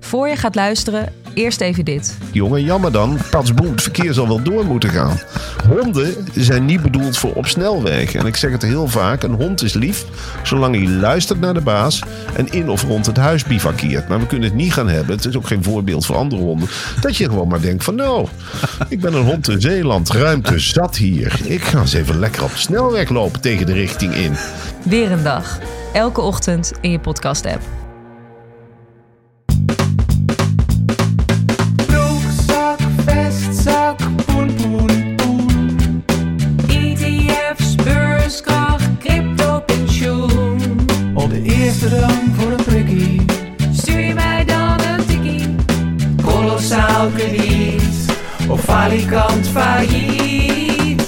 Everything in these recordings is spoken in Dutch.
Voor je gaat luisteren, eerst even dit. Jongen, jammer dan. Patsboom, het verkeer zal wel door moeten gaan. Honden zijn niet bedoeld voor op snelwegen. En ik zeg het heel vaak, een hond is lief zolang hij luistert naar de baas... en in of rond het huis bivakkeert. Maar we kunnen het niet gaan hebben, het is ook geen voorbeeld voor andere honden... dat je gewoon maar denkt van nou, ik ben een hond in Zeeland, ruimte zat hier. Ik ga eens even lekker op de snelweg lopen tegen de richting in. Weer een dag. Elke ochtend in je podcast-app. Broekzak, vestzak, poen, poen, poen. ETF's, beurskracht, crypto, pensioen. Op de eerste rang voor een prikkie. Stuur je mij dan een tikkie. Kolossaal krediet. Of falikant failliet.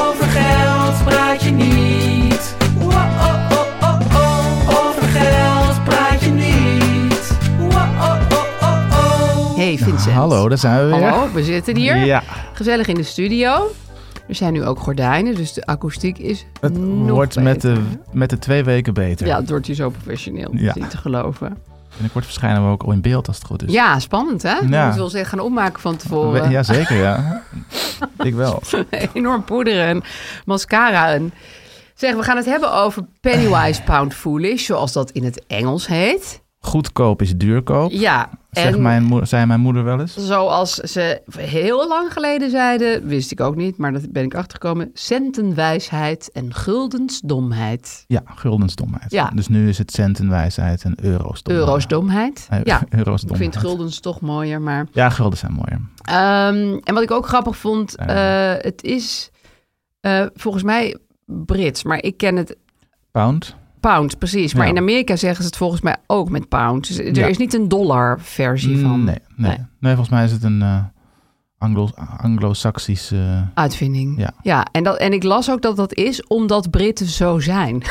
Over geld praat je niet. Wow, oh, oh, oh, oh. Over geld praat je niet. Wow, oh, oh, oh, oh. Hey Vincent. Hallo, daar zijn we weer. Hallo, we zitten hier. Ja, Gezellig in de studio. Er zijn nu ook gordijnen, dus de akoestiek is het nog wordt met beter. de, met de twee weken beter. Ja, het wordt hier zo professioneel. Ja. Dat is niet te geloven. Binnenkort verschijnen we ook al in beeld als het goed is. Ja, spannend hè? Je Ja. moet wel zeggen, gaan opmaken van We- tevoren. ja zeker ja. ik wel. Enorm poederen en mascara. En... Zeg, we gaan het hebben over Pennywise Pound Foolish, zoals dat in het Engels heet. Goedkoop is duurkoop, Ja, zegt en mijn moeder, zei mijn moeder wel eens. zoals ze heel lang geleden zeiden, wist ik ook niet, maar daar ben ik achtergekomen. Centenwijsheid en guldensdomheid. Ja, guldensdomheid. Ja. Dus nu is het centenwijsheid en euro's domheid. Euro's domheid. Eh, Ja, euro's ik vind domheid. guldens toch mooier, maar... Ja, gulden zijn mooier. Ehm, en wat ik ook grappig vond, Ja. eh, het is eh, volgens mij Brits, maar ik ken het Pound. pound, precies. Maar Ja. in Amerika zeggen ze het volgens mij ook met pound. Dus er Ja. Mm, is niet een dollar versie van Nee, nee. Hmm, Nee. nee, volgens mij is het een eh, Anglo- anglo-saxische... uitvinding. Ja. en, dat, en ik las ook dat dat is omdat Britten zo zijn.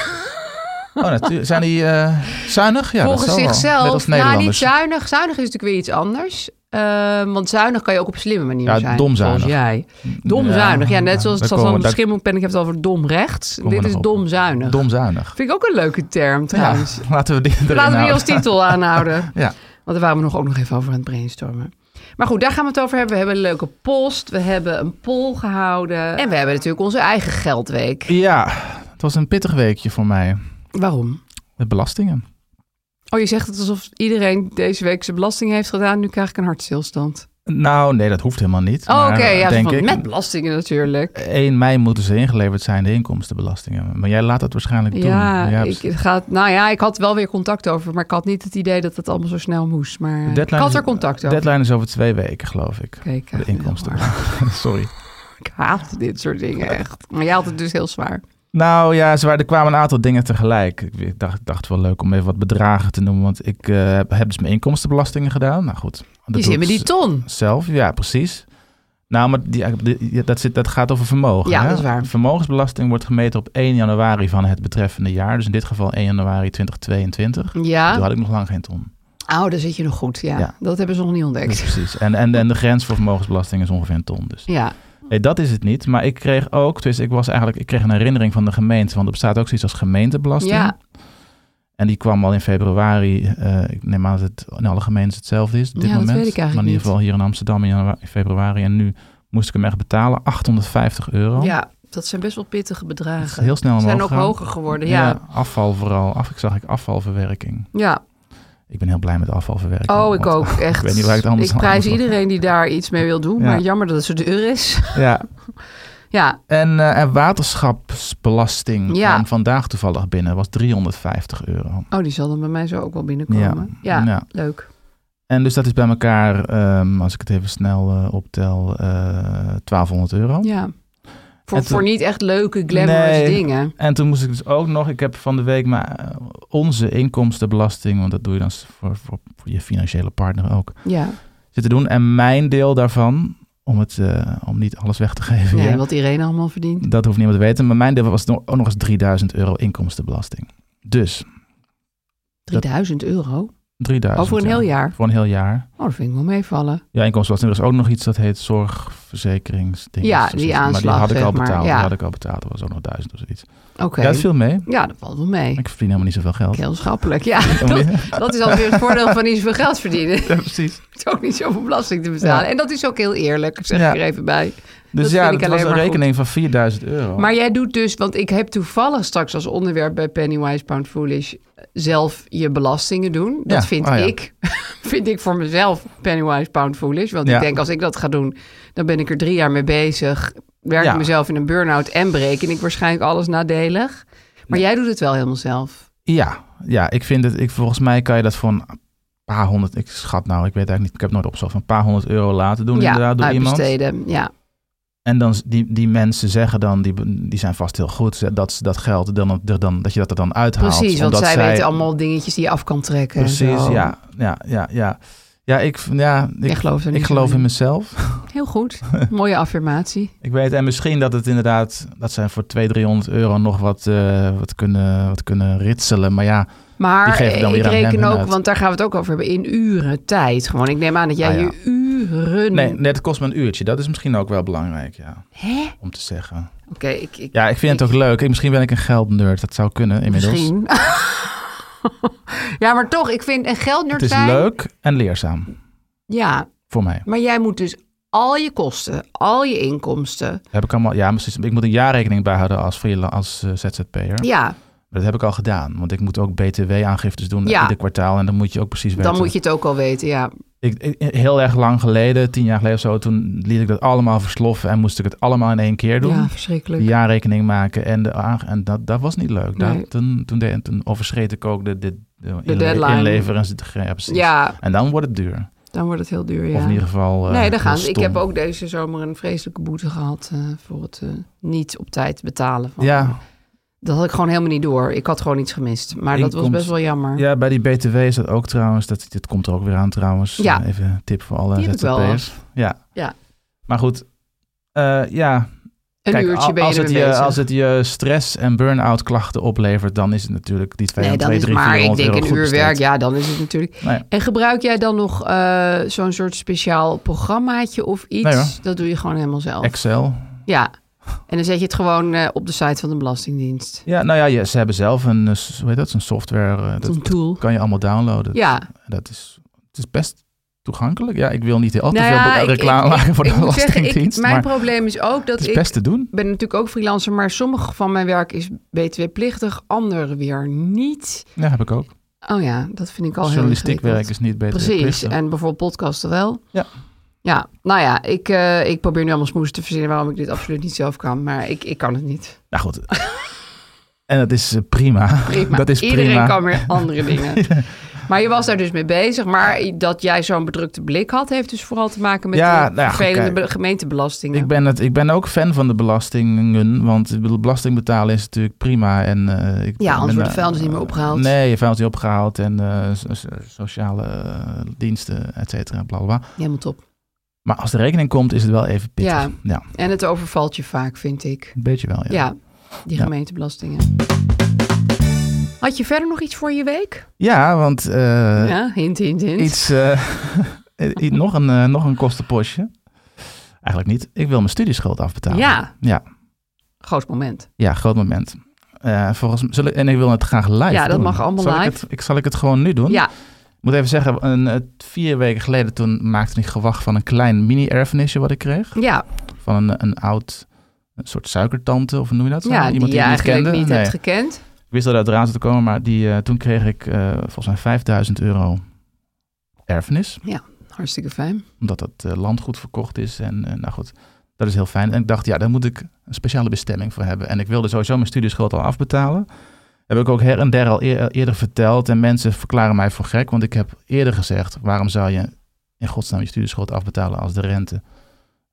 Oh, natuurlijk. Zijn die eh, zuinig? Ja, volgens dat zal wel. Net als zichzelf, nou niet Nederlanders. zuinig. Zuinig is natuurlijk weer iets anders. Ehm, want zuinig kan je ook op slimme manier Ja, zijn. domzuinig. Volgens jij. Domzuinig. Ja, net zoals daar het zat komen van we- daar- schimmelpen. Ik heb het over dom rechts. komen we Dit is nog op. domzuinig. Domzuinig. Vind ik ook een leuke term Ja, Nou. trouwens. laten we die erin Laten we die houden. als titel aanhouden. Ja. Want daar waren we nog ook nog even over aan het brainstormen. Maar goed, daar gaan we het over hebben. We hebben een leuke post. We hebben een poll gehouden. En we hebben natuurlijk onze eigen geldweek. Ja, het was een pittig weekje voor mij. Waarom? De belastingen. Oh, je zegt het alsof iedereen deze week zijn belasting heeft gedaan. Nu krijg ik een hartstilstand. Nou, nee, dat hoeft helemaal niet. Oh, Maar, oké. ja, Nou, denk van- ik, met belastingen natuurlijk. 1 mei moeten ze ingeleverd zijn, de inkomstenbelastingen. Maar jij laat dat waarschijnlijk doen. Ja, Jij ik hebt- ga, nou ja, ik had wel weer contact over. Maar ik had niet het idee dat het allemaal zo snel moest. Maar ik deadline had is- er contact over. Deadline is over twee weken, geloof ik. Oké, ik De haat het inkomsten. heel hard. Sorry. Ik haat dit soort dingen echt. Maar jij had het dus heel zwaar. Nou ja, ze waren, er kwamen een aantal dingen tegelijk. Ik ik dacht, ik dacht wel leuk om even wat bedragen te noemen. Want ik eh, heb dus mijn inkomstenbelastingen gedaan. Nou goed. Die dat doe zit ik met die ton. Zelf, ja, precies. Nou, maar die, die- ja, dat, zit, dat gaat over vermogen. Ja, hè? dat is waar. Vermogensbelasting wordt gemeten op 1 januari van het betreffende jaar. Dus in dit geval 1 januari 2022. Toen Ja. had ik nog lang geen ton. Oh, daar zit je nog goed. Ja. Ja. Dat hebben ze nog niet Dus ontdekt. precies. En, en, en de grens voor vermogensbelasting is ongeveer een ton. Dus. Ja. Nee, dat is het niet. Maar ik kreeg ook, dus ik was eigenlijk, ik kreeg een herinnering van de gemeente. Want er bestaat ook zoiets als gemeentebelasting. Ja. En die kwam al in februari. eh, ik neem aan dat het in alle gemeentes hetzelfde is op Ja, dit dat moment. weet ik eigenlijk maar in ieder niet. geval hier in Amsterdam in, janua- in februari. En nu moest ik hem echt betalen, 850 euro. ja. Dat zijn best wel pittige Het is bedragen. heel snel Ze omhoog zijn ook gaan. hoger geworden, ja. ja. Afval vooral. Af, ik zag ik afvalverwerking. Ik ben heel blij met afvalverwerking. Oh, ik want- ook, echt. Ik weet niet waar ik het anders Ik prijs anders- iedereen die daar iets mee wil doen, Ja. maar jammer dat het zo duur is. Ja, Ja, En, eh, en waterschapsbelasting Ja. kwam vandaag toevallig binnen. was 350 euro. oh, die zal dan bij mij zo ook wel binnenkomen. Ja, Ja. leuk. En dus dat is bij elkaar, ehm, als ik het even snel eh, optel, eh 1200 euro. Ja. Voor, Het- voor niet echt leuke, glamorous Nee. dingen. En toen moest ik dus ook nog, ik heb van de week maar eh, onze inkomstenbelasting, want dat doe je dan s- voor, voor, voor je financiële partner ook, Ja, zitten doen. En mijn deel daarvan, om, het, eh, om niet alles weg te geven, nee, hier, wat iedereen allemaal verdient. dat hoeft niemand te weten, maar mijn deel was nog- ook nog eens 3000 euro inkomstenbelasting. Dus 3000 euro? 3000 Over een heel euro. jaar? Voor een heel jaar. Oh, dat vind ik wel meevallen. Ja, inkomstenbelasting. Er is ook nog iets dat heet zorgverzekeringsding. Ja, Of zoiets. die Maar die aanslag, had ik al zeg maar. betaald. Ja. Die had ik al betaald. Dat was ook nog duizend of zoiets. Oké. Ja, het viel mee. Ja, dat valt wel mee. Ik verdien helemaal niet zoveel geld. Heel schappelijk, ja. Dat, dat is alweer het voordeel van niet zoveel geld verdienen. Ja, precies. Het is ook niet zoveel belasting te betalen. Ja. En dat is ook heel eerlijk, zeg Ja. ik er even bij. Dus Dat ja, vind ik dat alleen was een maar rekening van 4000 euro. Maar jij doet dus, want ik heb toevallig straks als onderwerp bij Pennywise Pound Foolish zelf je belastingen doen. Dat Ja, vind oh ja. ik, vind ik voor mezelf Pennywise Pound Foolish. Want Ja. ik denk als ik dat ga doen, dan ben ik er drie jaar mee bezig. Werk ik Ja. mezelf in een burn-out en bereken ik waarschijnlijk alles nadelig. Maar jij doet het wel helemaal zelf. Ja, ja ik vind het. Ik, volgens mij kan je dat voor een paar honderd. Ik schat nou, ik weet eigenlijk niet. Ik heb het nooit opgezocht. Een paar honderd euro laten doen. ja, inderdaad, door iemand. Nou, uitbesteden. Ja, En dan s- die, die mensen zeggen dan, die, die zijn vast heel goed. ze- Dat ze dat geld, dan, er dan, dat je dat er dan uithaalt. precies. Want omdat zij, weten allemaal dingetjes die je af kan trekken. en Precies, zo. ja. Ja, ja, ja. Ja, ik, ja, ik, Jij gelooft er ik niet zo geloof in. in mezelf. Heel goed. Mooie affirmatie. Ik weet, en misschien dat het inderdaad, dat zijn voor 200, 300 euro nog wat, eh, wat, kunnen, wat kunnen ritselen. Maar ja, Die Maar geven dan ik weer aan hem reken en ook, uit. want daar gaan we het ook over hebben, in uren tijd. Gewoon, ik neem aan dat jij Ah, ja. je uren... nee, nee, het kost me een uurtje. Dat is misschien ook wel belangrijk, ja, Hè? Oké, om te zeggen. ik... ik Ja, ik vind het ook leuk. Ik- Misschien ben ik een geldnerd. Dat zou kunnen inmiddels. Misschien. ja, maar toch, ik vind een geldnerd Het is zijn... leuk en leerzaam Ja, voor mij. maar jij moet dus al je kosten, al je inkomsten... Heb ik allemaal, ja, precies. Ik moet een jaarrekening bijhouden als, freela- als eh, ZZP'er. Ja, Maar dat heb ik al gedaan. Want ik moet ook BTW-aangiftes doen Ja. ieder kwartaal. En dan moet je ook precies weten. dan moet je het ook al weten, ja. Ik, ik- heel erg lang geleden, tien jaar geleden of zo, toen liet ik dat allemaal versloffen en moest ik het allemaal in één keer doen. Ja, de verschrikkelijk. jaarrekening maken en, de, aange- en dat, dat was niet leuk. Daar- Nee. toen, toen, deed- toen overschreed ik ook de, de, de, inle- deadline. inleverens- ja, precies. Ja, En dan wordt het duur. dan wordt het heel duur, ja. Of in ieder geval. eh, nee, daar gaan heel ze. Ik heb stom. ook deze zomer een vreselijke boete gehad... eh, voor het eh, niet op tijd betalen van Ja, Dat had ik gewoon helemaal niet door. Ik had gewoon iets gemist. Maar dat was Inkomst- best wel jammer. ja, bij die BTW is dat ook trouwens. Dat, dit komt er ook weer aan trouwens. Ja. Eh, Even een tip voor alle Die heb ik wel ZZP'ers. Ja. Ja. Maar goed, eh, ja, een Kijk, uurtje al- ben je als, ermee het je, bezig. als het je stress- en burn-out klachten oplevert, dan is het natuurlijk die 2, nee, dan 3, is het maar, ik 400 denk euro een goed uur besteed. werk. Ja, dan is het natuurlijk. Nee. En gebruik jij dan nog eh, zo'n soort speciaal programmaatje of iets? Nee, hoor. dat doe je gewoon helemaal zelf. Excel. ja. En dan zet je het gewoon eh, op de site van de Belastingdienst. Ja, nou ja, je- ze hebben zelf een, eh, s- hoe heet dat, een software. eh, Een dat tool. kan je allemaal downloaden. Ja, Dat is, het is best toegankelijk. Ja, ik wil niet al te Nou veel ja, be- ik- reclame ik- ik- maken voor de ik moet zeggen, ik- Belastingdienst. mijn maar probleem is ook dat het ik is best te doen. ben natuurlijk ook freelancer, maar sommige van mijn werk is btw-plichtig, andere weer niet. Ja, heb ik ook. Oh ja, dat vind ik al heel Journalistiek ingewikkeld. werk is niet beter. Precies, plichtig. en bijvoorbeeld podcasten wel. Ja. Ja, nou ja, ik, eh, ik probeer nu allemaal smoes te verzinnen waarom ik dit absoluut niet zelf kan. Maar ik, ik kan het niet. Nou goed. en dat is eh, prima. Prima. Dat is Iedereen prima. kan weer andere dingen. Maar je was daar dus mee bezig. Maar dat jij zo'n bedrukte blik had, heeft dus vooral te maken met Ja, de nou ja, goed, vervelende kijk. be- gemeentebelastingen. Ik ben, het, ik ben ook fan van de belastingen, want ik bedoel, belasting betalen is natuurlijk prima. En, eh, ik Ja, anders wordt ben, de eh, vuilnis niet meer opgehaald. Nee, je vuilnis niet opgehaald en eh, so- so- sociale eh, diensten, et cetera, bla, bla, bla. Helemaal top. Maar als de rekening komt, is het wel even pittig. Ja. Ja, En het overvalt je vaak, vind ik. een beetje wel, ja. Ja, die Ja. gemeentebelastingen. Had je verder nog iets voor je week? Ja, want eh, ja, hint, hint, hint. iets, eh, i- nog, een, eh, nog een kostenpostje. Eigenlijk niet. Ik wil mijn studieschuld afbetalen. Ja. Ja, Groot moment. ja groot moment. Eh, volgens, zal ik- en ik wil het graag live Ja, dat doen. mag allemaal Zal ik live. het- ik, zal ik het gewoon nu doen? Ja, Ik moet even zeggen, een, eh, vier weken geleden toen maakte ik gewacht van een klein mini-erfenisje wat ik kreeg. ja. Van een, een oud een soort suikertante, of hoe noem je dat? Nou, Ja, Iemand die die je ik niet eigenlijk kende. niet nee. hebt gekend. Ik wist dat uit raad te komen, maar die, eh, toen kreeg ik eh, volgens mij 5000 euro erfenis. Hartstikke fijn. Omdat dat eh, landgoed verkocht is. En eh, nou goed, dat is heel fijn. En ik dacht, ja, daar moet ik een speciale bestemming voor hebben. En ik wilde sowieso mijn studieschuld al afbetalen. Heb ik ook her en der al eer- eerder verteld. En mensen verklaren mij voor gek. Want ik heb eerder gezegd, waarom zou je in godsnaam je studieschuld afbetalen als de rente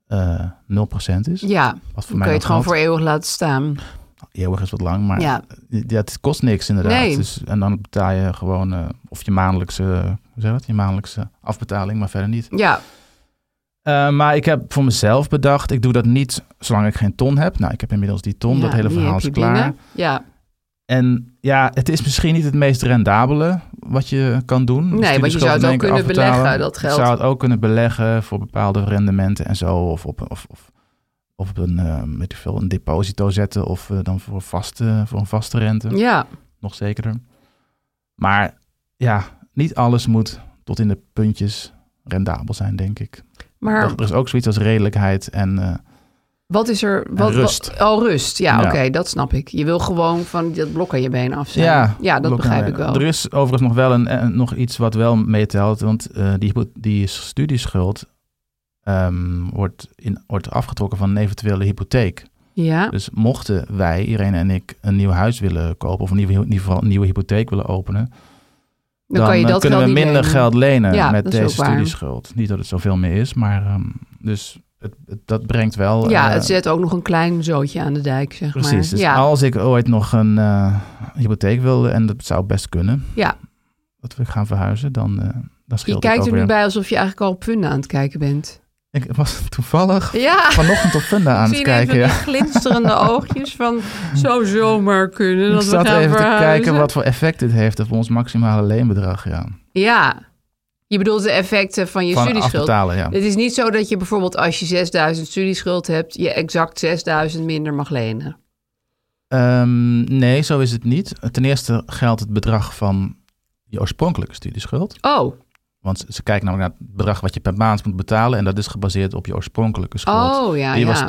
eh 0% is? Ja, Wat dan kun je voor nog het gewoon voor geldt. eeuwig laten staan. Eeuwig is wat lang, maar ja, ja, het kost niks inderdaad. Nee. Dus, en dan betaal je gewoon, eh, of je maandelijkse, eh, hoe zeg je dat? Je maandelijkse afbetaling, maar verder niet. ja, Eh, maar ik heb voor mezelf bedacht, ik doe dat niet zolang ik geen ton heb. Nou, ik heb inmiddels die ton, ja, dat hele die verhaal heb is je klaar. binnen. Ja, En ja, het is misschien niet het meest rendabele wat je kan doen. Nee, want je Studieschuld zou het in ook één keer kunnen afbetalen. beleggen, dat geld. Je zou het ook kunnen beleggen voor bepaalde rendementen en zo. Of op, of, of, of op een, eh, weet ik veel, een deposito zetten of eh, dan voor, vaste, voor een vaste rente ja, nog zekerder. Maar ja, niet alles moet tot in de puntjes rendabel zijn, denk ik. maar Er- Er is ook zoiets als redelijkheid en eh, wat is er... Wat, rust. Wat, oh, rust. Ja, Ja. oké, dat snap ik. Je wil gewoon van dat blok aan je been af zijn. ja, dat blok- begrijp ik wel. Er is overigens nog wel een, eh, nog iets wat wel meetelt, want eh, die, hypo- die studieschuld ehm, wordt, in, wordt afgetrokken van een eventuele hypotheek. Ja, Dus mochten wij, Irene en ik, een nieuw huis willen kopen of in ieder geval- in ieder geval een nieuwe hypotheek willen openen, dan, kan je eh, dat kunnen geld we niet minder lenen. geld lenen Ja, met dat is deze ook waar. studieschuld. Niet dat het zoveel meer is, maar ehm, dus het, het- dat brengt wel. Ja, eh, het zet ook nog een klein zootje aan de dijk, zeg maar. Precies. Dus ja, als ik ooit nog een eh, hypotheek wilde, en dat zou best kunnen, Ja. dat we gaan verhuizen, dan, eh dan je scheelt het kijkt ook er nu weer. bij alsof je eigenlijk al op funda aan het kijken bent. Ik was toevallig Ja, vanochtend op Funda aan Ik het zie even kijken. ja. die glinsterende oogjes van zou zomaar kunnen Ik dat we zat gaan even te verhuizen. kijken wat voor effect dit heeft op ons maximale leenbedrag. Ja. Ja, je bedoelt de effecten van je Van studieschuld. afbetalen, ja. Het is niet zo dat je bijvoorbeeld als je 6000 studieschuld hebt, je exact 6000 minder mag lenen. Ehm, nee, zo is het niet. Ten eerste geldt het bedrag van je oorspronkelijke studieschuld. Oh, Want ze- ze kijken namelijk naar het bedrag wat je per maand moet betalen. En dat is gebaseerd op je oorspronkelijke schuld. oh ja. Die ja. was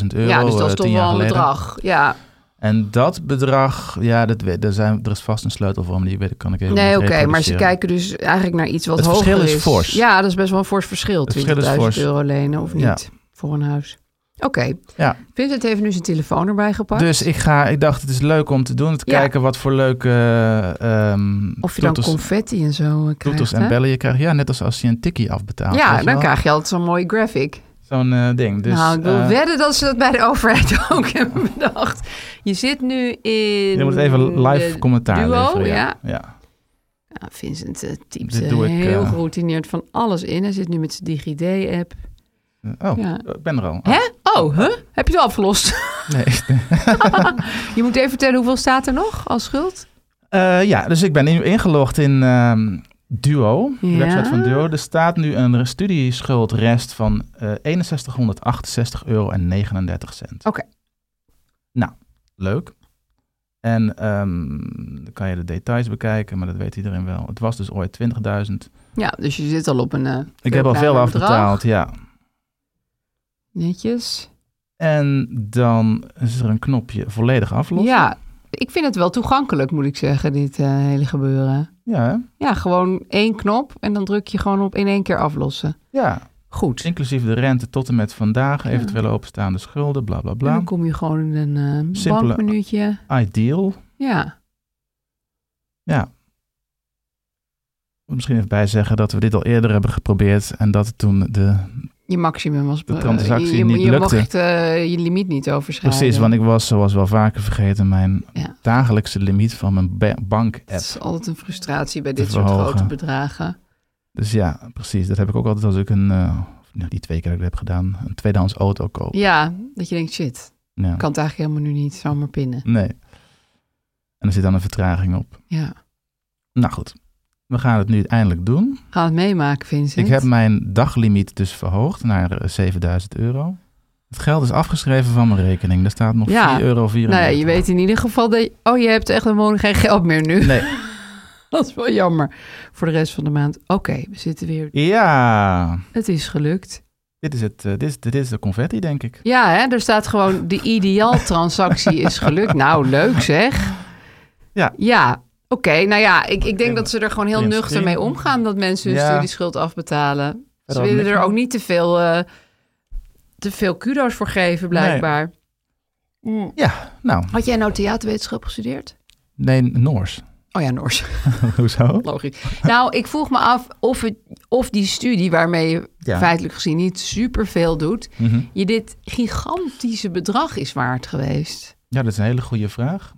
20.000 euro. Ja, dus dat is eh, toch tien jaar wel een geleden. bedrag. Ja, En dat bedrag, ja, dat, we- daar zijn, er is vast een sleutel voor, maar die weet, ik- kan ik even nee, niet oké, maar ze reproduceren. kijken dus eigenlijk naar iets wat Het hoger verschil is. is fors. Ja, dat is best wel een fors verschil. Het verschil is 20.000 fors. euro lenen of niet Ja. voor een huis. Oké, Ja. Vincent heeft nu zijn telefoon erbij gepakt. Dus ik, ga, ik dacht, het is leuk om te doen. Te Ja. kijken wat voor leuke ehm Of je dan toeters- confetti en zo eh, krijgt. toeters hè? en bellen je krijgt. Ja, net als als je een tikkie afbetaalt. weet Ja, je dan wel? krijg je altijd zo'n mooie graphic. Zo'n eh, ding. Dus, nou, ik wil eh, wedden dat ze dat bij de overheid ook hebben bedacht. Je zit nu in... je moet even live de Nou, commentaar eh, duo, leveren. ja. ja. Nou, Vincent eh, typt Dit eh, doe ik, heel eh, geroutineerd van alles in. Hij zit nu met zijn DigiD-app. Oh, Ja. ik ben er al. Ah, Hè? Oh, huh? Heb je het al opgelost? Nee. je moet even vertellen, hoeveel staat er nog als schuld? Eh, ja, dus ik ben in- ingelogd in ehm, Duo, de Ja. website van Duo. Er staat nu een studieschuld-rest van eh 6168 euro en 39 cent. Oké. Nou, leuk. En ehm, dan kan je de details bekijken, maar dat weet iedereen wel. Het was dus ooit 20.000. Ja, dus je zit al op een... eh, Ik veel heb al veel kleiner bedrag. afbetaald, ja. Netjes. En dan is er een knopje volledig aflossen. Ja, ik vind het wel toegankelijk, moet ik zeggen, dit eh, hele gebeuren. Ja, hè? Ja, gewoon één knop en dan druk je gewoon op in één keer aflossen. ja. Goed. En Inclusief de rente tot en met vandaag, eventuele openstaande schulden, bla bla bla. dan kom je gewoon in een eh, Simpele- bankmenuutje. Ideal. Ja. Ja. Misschien even bij zeggen dat we dit al eerder hebben geprobeerd en dat het toen de... Je maximum was... De eh, transactie je, je, niet je lukte. mocht eh, je limiet niet overschrijden. Precies, want ik was, zoals wel vaker vergeten, mijn Ja. dagelijkse limiet van mijn ba- bank-app. Het is altijd een frustratie bij Te dit soort verhogen. grote bedragen. Dus ja, precies. Dat heb ik ook altijd als ik een... eh, nou, die twee keer dat ik dat heb gedaan, een tweedehands auto koop. Ja, dat je denkt, shit, Ja. ik kan het eigenlijk helemaal nu niet zomaar pinnen. Nee. En er zit dan een vertraging op. Ja. Nou goed, we gaan het nu eindelijk doen. Ga het meemaken, Vincent. Ik heb mijn daglimiet dus verhoogd naar eh, 7000 euro. Het geld is afgeschreven van mijn rekening. Daar staat nog Ja. 4,94 euro. Nou ja, je weet in ieder geval dat... je- Oh, je hebt echt gewoon geen geld meer nu. Nee. Dat is wel jammer. Voor de rest van de maand. Oké, we zitten weer. Ja, Het is gelukt. dit Dit is, het, eh, dit, is, dit is de confetti, denk ik. Ja, hè, er staat gewoon de ideaaltransactie is gelukt. Nou, leuk zeg. Ja. Ja, oké. Nou ja, ik, ik denk dat ze er gewoon heel Prins nuchter mee omgaan dat mensen hun Ja. studieschuld afbetalen. Ze Verder ook willen niks er aan. ook niet te veel, eh, te veel kudo's voor geven, blijkbaar. Ja, nou, Had jij nou theaterwetenschap gestudeerd? nee, Noors. Oh ja, Noors. Hoezo? Logisch. Nou, ik vroeg me af of, het, of die studie, waarmee je Ja. feitelijk gezien niet superveel doet, Mhm. je dit gigantische bedrag is waard geweest. Ja, dat is een hele goede vraag.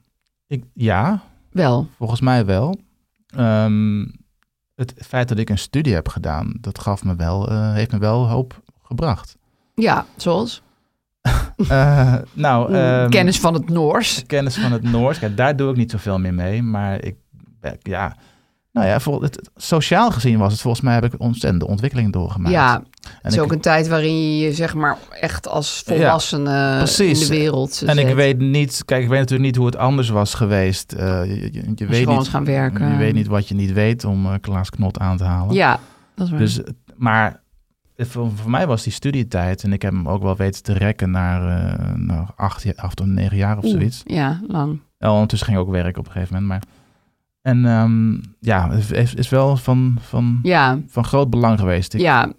Ik, ja, Wel, Volgens mij wel. Ehm, het feit dat ik een studie heb gedaan, dat gaf me wel, eh, heeft me wel hoop gebracht. ja, zoals Eh, nou, ehm, Mm, kennis van het Noors. kennis van het Noors. Kijk, daar doe ik niet zoveel meer mee. Maar ik, eh, ja, nou ja, voor het, het- sociaal gezien was het volgens mij heb ik ontzettende ontwikkeling doorgemaakt. Ja, en het is ik, ook een tijd waarin je je zeg maar echt als volwassene precies. in de wereld en ik zet. weet niet, kijk, ik weet natuurlijk niet hoe het anders was geweest. Eh, je- je, je Als je weet gewoon niet, eens gaan werken. je weet niet wat je niet weet om eh, Klaas Knot aan te halen. Ja, dat is waar. Dus, maar eh, voor, voor mij was die studietijd, en ik heb hem ook wel weten te rekken naar, eh, naar acht, jaar- acht of negen jaar of Oeh, zoiets. Ja, lang. En ondertussen ging ik ook werken op een gegeven moment. Maar, en ehm, ja, het is, is wel van, van, Ja, van groot belang geweest. Ik ja,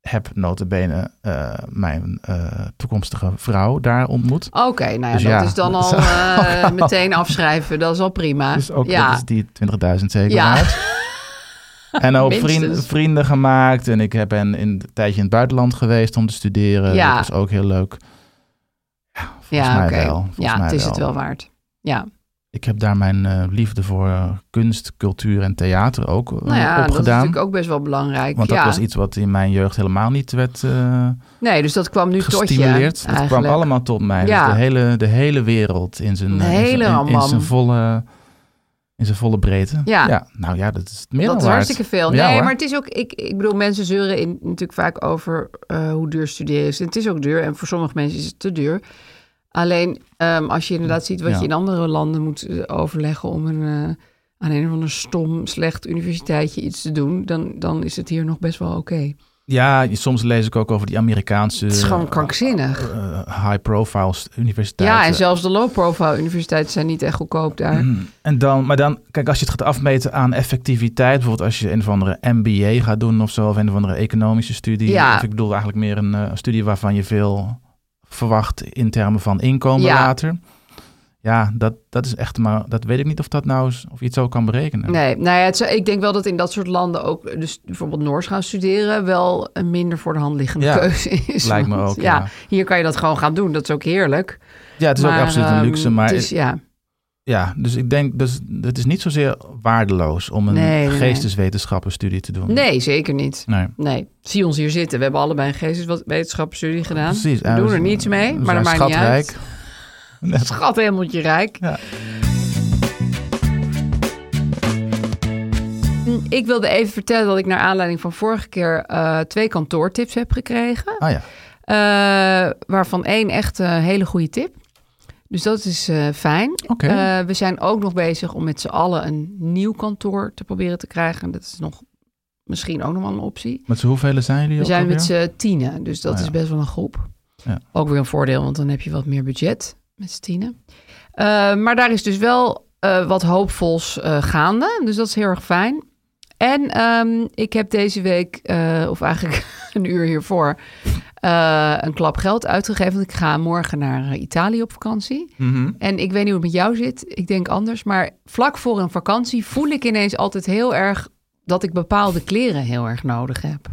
heb notabene eh mijn eh, toekomstige vrouw daar ontmoet. oké. nou ja, Dus dat ja, is dan dat al is eh, meteen afschrijven. Dat is al prima. Dus ook ja. dat is die 20.000 zeker Ja. waard. En ook Minstens. vrienden, vrienden gemaakt. En ik heb ben in, een tijdje in het buitenland geweest om te studeren. Ja. Dat is ook heel leuk. Ja, volgens ja, mij oké. wel. Volgens Ja, mij het is het wel waard. Ja, Ik heb daar mijn eh, liefde voor eh, kunst, cultuur en theater ook eh, nou ja, dat is opgedaan. natuurlijk ook best wel belangrijk. Want dat ja. was iets wat in mijn jeugd helemaal niet werd eh, nee, dus dat kwam nu tot je. gestimuleerd. Het kwam eigenlijk. allemaal tot mij. Dus Ja. de, hele, de hele wereld in zijn, Een eh, in zijn- hele in- in, ramam. zijn volle, in zijn volle breedte. Ja. Nou ja, dat is het meer dat dan is waard. hartstikke veel. Ja, nee, hoor. maar het is ook, ik, ik bedoel, mensen zeuren in, natuurlijk vaak over eh, hoe duur studeren is. En het is ook duur en voor sommige mensen is het te duur. Alleen ehm, als je inderdaad ziet wat Ja. je in andere landen moet eh, overleggen om een, eh, aan een of ander stom, slecht universiteitje iets te doen, dan, dan is het hier nog best wel oké. Ja, je- soms lees ik ook over die Amerikaanse eh, Het is gewoon krankzinnig. high-profile universiteiten. Ja, en zelfs de low-profile universiteiten zijn niet echt goedkoop daar. En dan, maar dan, kijk, als je het gaat afmeten aan effectiviteit, bijvoorbeeld als je een of andere MBA gaat doen of zo, of een of andere economische studie. Ja. Of ik bedoel eigenlijk meer een eh, studie waarvan je veel verwacht in termen van inkomen Ja. later. Ja, dat, dat is echt, maar dat weet ik niet of dat nou is, of je het zo kan berekenen. Nee, nou ja, het zou- ik denk wel dat in dat soort landen ook, dus bijvoorbeeld Noors gaan studeren, wel een minder voor de hand liggende Ja, keuze is. lijkt me Want ook, ja. hier kan je dat gewoon gaan doen. Dat is ook heerlijk. Ja, het is Maar, ook absoluut een ehm, luxe, maar dus, ja, ja, dus ik denk, dus, het is niet zozeer waardeloos om een Nee, nee, nee. geesteswetenschappenstudie te doen. nee, zeker niet. Nee. Nee, zie ons hier zitten. We hebben allebei een geesteswetenschapsstudie gedaan. Precies. dus We doen er niets mee, maar dat maakt niet uit. uit. Schat hemeltje rijk. Ja. Mm, Ik wilde even vertellen dat ik naar aanleiding van vorige keer eh, twee kantoortips heb gekregen. Ah ja. Eh, waarvan één echt een hele goede tip. Dus dat is eh, fijn. Oké. Eh, we zijn ook nog bezig om met z'n allen een nieuw kantoor te proberen te krijgen. Dat is nog misschien ook nog wel een optie. Met z'n hoeveel zijn jullie We ook zijn met alweer? z'n tienen, dus dat Ah, ja. is best wel een groep. Ja. Ook weer een voordeel, want dan heb je wat meer budget met z'n tienen. Eh, maar daar is dus wel eh, wat hoopvols eh, gaande, dus dat is heel erg fijn. En ehm, ik heb deze week, eh, of eigenlijk een uur hiervoor, eh, een klap geld uitgegeven. Want ik ga morgen naar eh, Italië op vakantie. Mhm. En ik weet niet hoe het met jou zit. Ik denk anders. Maar vlak voor een vakantie voel ik ineens altijd heel erg dat ik bepaalde kleren heel erg nodig heb.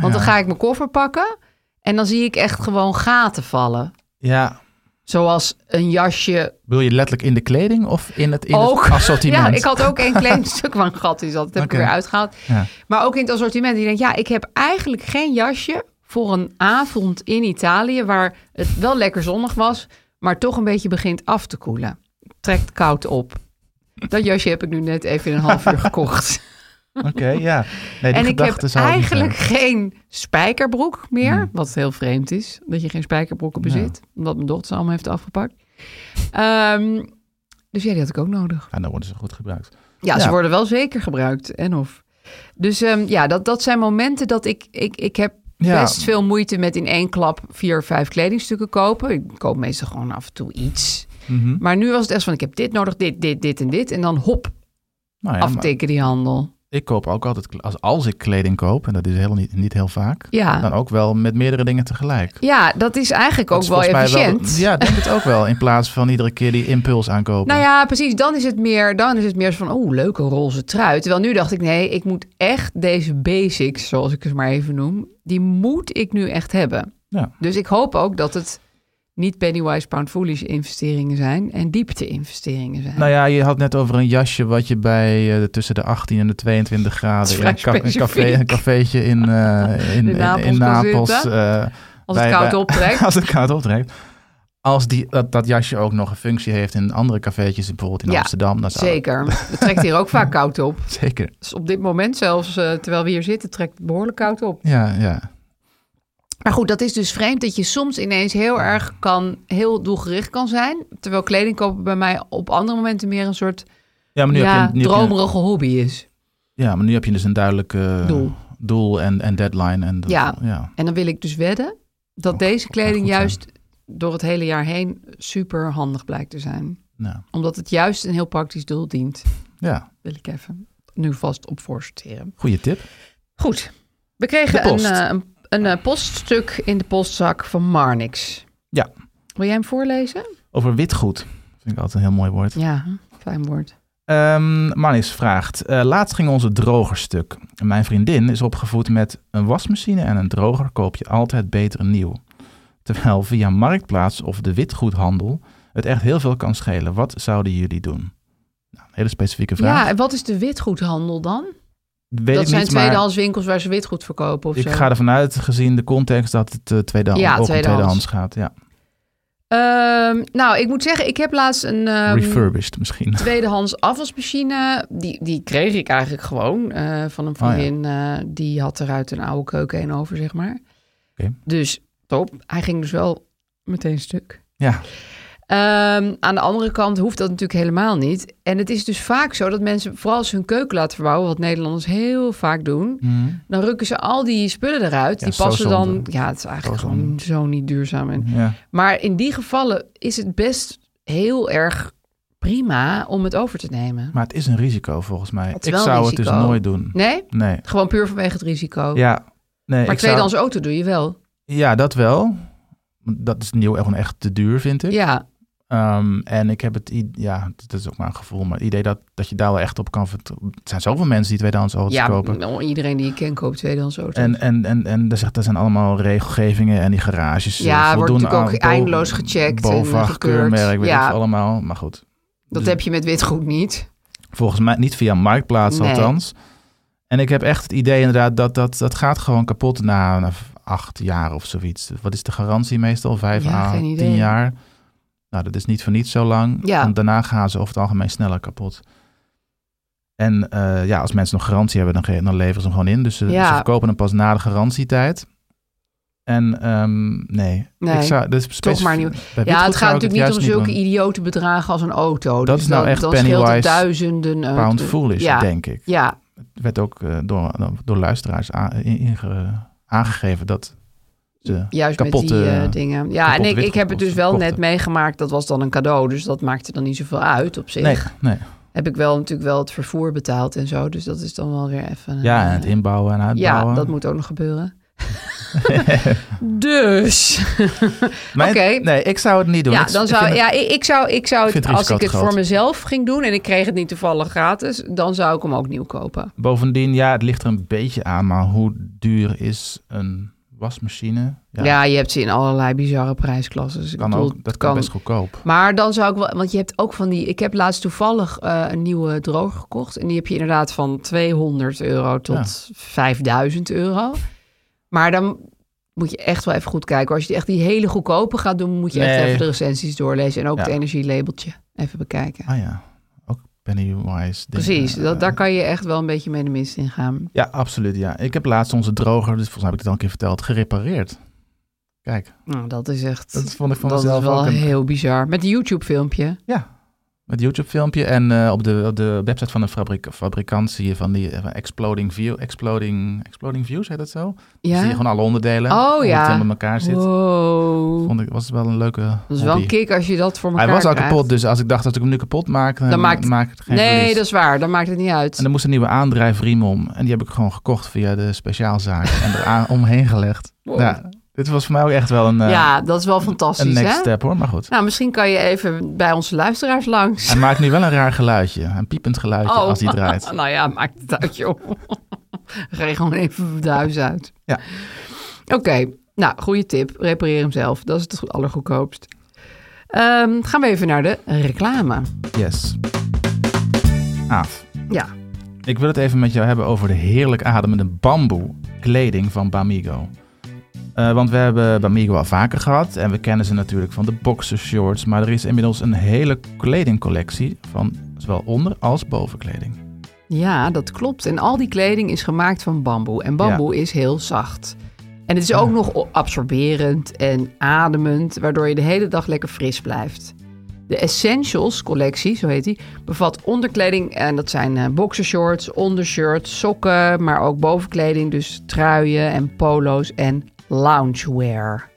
Want dan ga ik mijn koffer pakken en dan zie ik echt gewoon gaten vallen. Ja. Zoals een jasje Wil je letterlijk in de kleding of in het, in ook. het assortiment? ja, ik had ook één klein stuk van een gat, dus dat heb Oké. ik er weer uitgehaald. Ja. Maar ook in het assortiment. Die denkt, ja, ik heb eigenlijk geen jasje voor een avond in Italië... waar het wel lekker zonnig was, maar toch een beetje begint af te koelen. Trekt koud op. Dat jasje heb ik nu net even in een half uur gekocht. Oké, ja. Nee, die en ik heb gedachte zou niet eh, Hmm. eigenlijk hebben. geen spijkerbroek meer. Wat heel vreemd is, dat je geen spijkerbroeken bezit. Omdat mijn dochter ze allemaal heeft afgepakt. Ehm, dus ja, die had ik ook nodig. Ja, dan worden ze goed gebruikt. Ja, ze Ja. worden wel zeker gebruikt. En of. Dus ehm, ja, dat, dat zijn momenten dat ik, ik, ik heb Ja. best veel moeite met in één klap vier of vijf kledingstukken kopen. Ik koop meestal gewoon af en toe iets. Mhm. Maar nu was het echt van, ik heb dit nodig, dit, dit, dit en dit. En dan hop, Nou ja, maar afteken die handel. ik koop ook altijd, kle- als, als ik kleding koop, en dat is heel niet, niet heel vaak, Ja. dan ook wel met meerdere dingen tegelijk. Ja, dat is eigenlijk Nou. Dat ook is wel volgens mij efficiënt. ja, denk het ook wel. In plaats van iedere keer die impuls aankopen. Nou ja, precies. Dan is het meer, dan is het meer van, oh, leuke roze trui. Terwijl nu dacht ik, nee, ik moet echt deze basics, zoals ik het maar even noem, die moet ik nu echt hebben. Ja. Dus ik hoop ook dat het niet Pennywise Pound Foolish investeringen zijn en diepte investeringen zijn. Nou ja, je had net over een jasje wat je bij eh, tussen de 18 en de 22 graden is in vrij een, ka- een café, specifiek. een cafeetje in, eh, in, In in- Napels kan in Napels, zitten. eh, Als het bij- koud bij- optrekt. als het koud optrekt. Als die, dat, dat jasje ook nog een functie heeft in andere cafeetjes, bijvoorbeeld in Ja, Amsterdam. Dan zou- Zeker. Het trekt hier ook vaak koud op. Zeker. Dus op dit moment zelfs, eh, terwijl we hier zitten, trekt het behoorlijk koud op. Ja, ja. Maar goed, dat is dus vreemd dat je soms ineens heel erg kan, heel doelgericht kan zijn. Terwijl kleding kopen bij mij op andere momenten meer een soort Ja, maar nu, ja, heb, je, nu, heb, je, dromerige hobby is. ja, maar nu heb je dus een duidelijk eh, Doel. doel en, en deadline. En dat- Ja. ja. En dan wil ik dus wedden dat Oh, deze ja, kleding goed, ja. juist door het hele jaar heen super handig blijkt te zijn. Nou, Omdat het juist een heel praktisch doel dient. ja. Wil ik even nu vast op voorsorteren. Goeie tip. Goed. We De kregen een, post. eh, een, een, eh, poststuk in de postzak van Marnix. Ja. Wil jij hem voorlezen? Over witgoed. Vind ik altijd een heel mooi woord. Ja, fijn woord. Ehm Marlies vraagt, eh, laatst ging onze droger stuk. Mijn vriendin is opgevoed met een wasmachine en een droger koop je altijd beter nieuw. Terwijl via Marktplaats of de witgoedhandel het echt heel veel kan schelen. Wat zouden jullie doen? Nou, een hele specifieke vraag. Ja, en wat is de witgoedhandel dan? Weet dat ik zijn niet, maar tweedehands winkels waar ze witgoed verkopen of ik zo. ga ervan uit, gezien de context, dat het eh, tweedehand, Ja, ook om tweedehands. tweedehands gaat. Ja. Ehm, nou, ik moet zeggen, ik heb laatst een ehm, Refurbished misschien. tweedehands afwasmachine. Die, die kreeg ik eigenlijk gewoon eh, van een Oh, ja. vriendin. eh, die had eruit een oude keuken heen over, zeg maar. Oké. Dus top. Hij ging dus wel meteen stuk. Ja, Ehm, aan de andere kant hoeft dat natuurlijk helemaal niet. En het is dus vaak zo dat mensen, vooral als ze hun keuken laten verbouwen, wat Nederlanders heel vaak doen, dan rukken ze al die spullen eruit. Ja, die zo passen dan. zonde. Ja, het is eigenlijk Zo gewoon zonde. Mhm. zo niet duurzaam. En, ja. Maar in die gevallen is het best heel erg prima om het over te nemen. maar het is een risico volgens mij. Het is Ik wel zou het risico. dus nooit doen. Nee, Nee. gewoon puur vanwege het risico. Ja, maar nee, ik zou... tweedehands auto doe je wel. Ja, dat wel. Dat is nieuw gewoon echt te duur, vind ik. Ja, Ehm, en ik heb het, i- ja, dat is ook maar een gevoel, maar het idee dat, dat je daar wel echt op kan vertrouwen. Er zijn zoveel mensen die tweedehands auto's ja kopen. nou, iedereen die je kent koopt tweedehands auto. En, en, en, en daar zegt, er zijn allemaal regelgevingen en die garages. eh, Ja, wordt voldoen natuurlijk ook aan bo- eindeloos gecheckt en, eh, BOVAG, gekeurd. keurmerk, weet Ja. ik veel allemaal. Maar goed, dat dus- heb je met witgoed niet. volgens mij niet via Marktplaats Nee. althans. En ik heb echt het idee inderdaad dat dat, dat gaat gewoon kapot na, na acht jaar of zoiets. Wat is de garantie meestal? Vijf Ja, à geen tien idee. jaar? Nou, dat is niet voor niets zo lang. Ja. Want daarna gaan ze over het algemeen sneller kapot. En eh, ja, als mensen nog garantie hebben, dan, ge- dan leveren ze hem gewoon in. Dus ze, Ja. ze verkopen hem pas na de garantietijd. En ehm, nee. Nee, ik zou, dus specif- maar niet. bij Witgoed Ja, zou het ik gaat natuurlijk niet juist om zulke doen. idiote bedragen als een auto. Dat Dus is nou dan, echt dan scheelt het Pennywise duizenden. eh, Pound te- foolish, ja, denk ik. Ja, werd ook eh, door, door luisteraars a- in- inge- aangegeven dat ze juist kapotte... met die eh, dingen. Ja, en kapotte ik, ik heb het dus wel witgoed net meegemaakt. Dat was dan een cadeau, dus dat maakte dan niet zoveel uit op zich. nee, nee. Heb ik wel natuurlijk wel het vervoer betaald en zo. Dus dat is dan wel weer even... eh, Ja, en het inbouwen en uitbouwen. ja, dat moet ook nog gebeuren. dus... Maar oké. Nee, ik zou het niet doen. Ja, Ik- dan ik zou, vind het- ja ik, ik zou, ik zou Ik vind het, het als ik het risico voor te mezelf ging doen en ik kreeg het niet toevallig gratis, dan zou ik hem ook nieuw kopen. Bovendien, ja, het ligt er een beetje aan, maar hoe duur is een wasmachine? Ja, je hebt ze in allerlei bizarre prijsklassen. Dus ik kan bedoel, ook, dat kan best goedkoop. Maar dan zou ik wel, want je hebt ook van die. Ik heb laatst toevallig eh, een nieuwe droger gekocht. En die heb je inderdaad van 200 euro tot 5000 euro. Maar dan moet je echt wel even goed kijken. Als je echt die hele goedkope gaat doen, moet je echt Nee. even de recensies doorlezen. En ook Ja. het energielabeltje even bekijken. Ah ja, ook Pennywise. dingen. Precies, dat, Eh, daar kan je echt wel een beetje mee de mist in gaan. Ja, absoluut, ja. Ik heb laatst onze droger, dus volgens mij heb ik het al een keer verteld, gerepareerd. Kijk, Nou, dat is echt. dat vond ik van dat is mezelf wel ook een heel bizar. Met een YouTube-filmpje. Ja. Het YouTube-filmpje. En eh, op, de, op de website van een fabrik, fabrikant zie je van die eh, van Exploding View. Exploding, exploding Views heet dat zo? Dan Zie je Ja? gewoon alle onderdelen. Oh, hoe het ja. dan bij elkaar zit. Wow. Vond ik, was het wel een leuke Dat is wel een hobby. kick als je dat voor elkaar Hij was al krijgt. kapot, dus als ik dacht dat ik hem nu kapot maak, dan, Dan maakt- maak ik het geen Nee, release. dat is waar. Dan maakt het niet uit. En er moest een nieuwe aandrijfriem om. En die heb ik gewoon gekocht via de speciaalzaak en er aan- omheen gelegd. Wow. Ja, dit was voor mij ook echt wel een, eh, ja, dat is wel fantastisch, een next hè? step hoor, maar goed. Nou, misschien kan je even bij onze luisteraars langs. Hij maakt nu wel een raar geluidje, een piepend geluidje als hij draait. nou ja, maakt het uit, joh. Rij gewoon even de huis uit. Ja. Oké, nou, goede tip. Repareer hem zelf. Dat is het go- allergoedkoopst. Ehm, gaan we even naar de reclame. Yes. Aaf, Ja, ik wil het even met jou hebben over de heerlijk ademende bamboe kleding van Bamigo. Eh, want we hebben Bamigo al vaker gehad en we kennen ze natuurlijk van de boxershorts. Maar er is inmiddels een hele kledingcollectie van zowel onder- als bovenkleding. ja, dat klopt. En al die kleding is gemaakt van bamboe. En bamboe is heel zacht. En het is ook nog o- absorberend en ademend, waardoor je de hele dag lekker fris blijft. De Essentials collectie, zo heet die, bevat onderkleding. En dat zijn eh, boxershorts, ondershirts, sokken, maar ook bovenkleding. Dus truien en polo's en loungewear.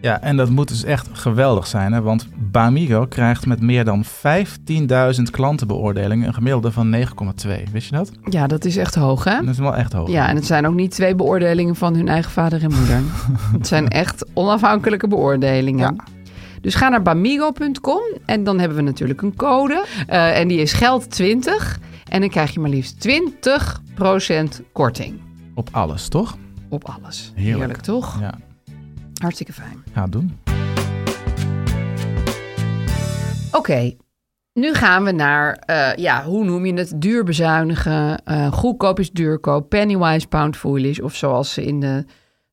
Ja, en dat moet dus echt geweldig zijn, hè? want Bamigo krijgt met meer dan 15.000 klantenbeoordelingen een gemiddelde van 9,2. Wist je dat? Ja, dat is echt hoog, hè? Dat is wel echt hoog. Ja, en het zijn ook niet twee beoordelingen van hun eigen vader en moeder. het zijn echt onafhankelijke beoordelingen. Dus ga naar bamigo.com en dan hebben we natuurlijk een code. eh, en die is geld20. En dan krijg je maar liefst 20% korting Op alles, toch? op alles. Heerlijk. toch? Ja, Hartstikke fijn. ga het doen. Oké, nu gaan we naar, eh, ja, hoe noem je het? Duur bezuinigen. eh, goedkoop is duurkoop. Pennywise, pound foolish. Of zoals ze in de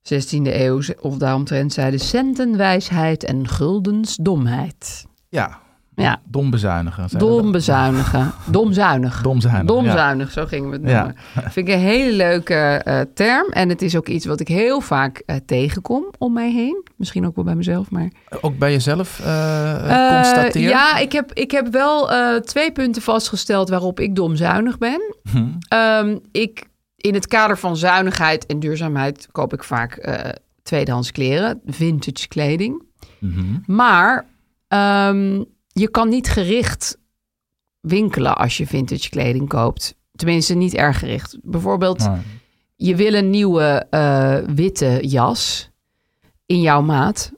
16e eeuw ze- of daaromtrent zeiden: centenwijsheid en guldensdomheid. Ja, Ja, dom bezuinigen. zeiden we dom dat. bezuinigen. Domzuinig. Domzuinig, Domzuinig, zo gingen we het noemen. Vind ik een hele leuke eh, term. En het is ook iets wat ik heel vaak eh, tegenkom om mij heen. Misschien ook wel bij mezelf, maar... Ook bij jezelf eh Eh, constateren? Ja, ik heb, ik heb wel eh, twee punten vastgesteld waarop ik domzuinig ben. Mhm. Ehm, ik, in het kader van zuinigheid en duurzaamheid koop ik vaak eh, tweedehands kleren, vintage kleding. Mhm. Maar ehm, je kan niet gericht winkelen als je vintage kleding koopt. Tenminste, niet erg gericht. Bijvoorbeeld, Maar- je wil een nieuwe eh, witte jas in jouw maat.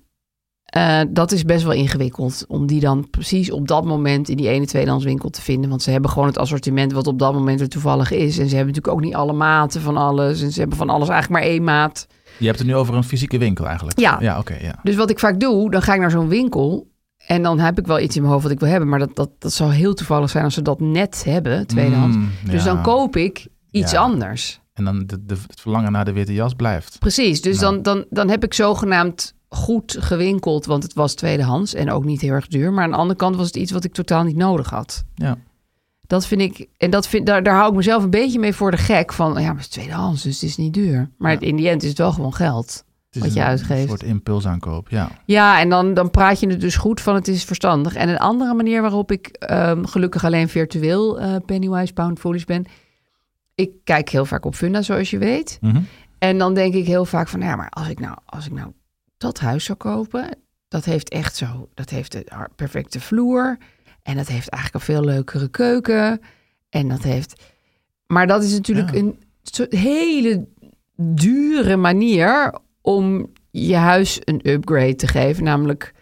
Eh, dat is best wel ingewikkeld om die dan precies op dat moment in die ene tweedehandswinkel te vinden. Want ze hebben gewoon het assortiment wat op dat moment er toevallig is. En ze hebben natuurlijk ook niet alle maten van alles. En ze hebben van alles eigenlijk maar één maat. Je hebt het nu over een fysieke winkel eigenlijk. Ja. Ja, oké. ja. Dus wat ik vaak doe, dan ga ik naar zo'n winkel. En dan heb ik wel iets in mijn hoofd wat ik wil hebben. Maar dat, dat, dat zou heel toevallig zijn als ze dat net hebben, tweedehands. Mm, Dus ja. dan koop ik iets Ja. anders. En dan de, de- het verlangen naar de witte jas blijft. Precies, dus dan, dan, dan heb ik zogenaamd goed gewinkeld, want het was tweedehands en ook niet heel erg duur. Maar aan de andere kant was het iets wat ik totaal niet nodig had. Ja. Dat vind ik, en dat vind, daar, daar hou ik mezelf een beetje mee voor de gek van, ja, maar het is tweedehands, dus het is niet duur. Maar in die end is het wel gewoon geld. Het Wat je een uitgeeft. soort impulsaankoop, ja. Ja, en dan, dan praat je het dus goed van het is verstandig. En een andere manier waarop ik ehm, gelukkig alleen virtueel eh, Pennywise Pound Foolish ben. Ik kijk heel vaak op Funda, zoals je weet. Mhm. En dan denk ik heel vaak van, ja, maar als ik nou, als ik nou dat huis zou kopen, dat heeft echt zo, dat heeft de har- perfecte vloer. En dat heeft eigenlijk een veel leukere keuken. En dat heeft. Maar dat is natuurlijk Ja. een soort hele dure manier om je huis een upgrade te geven. Namelijk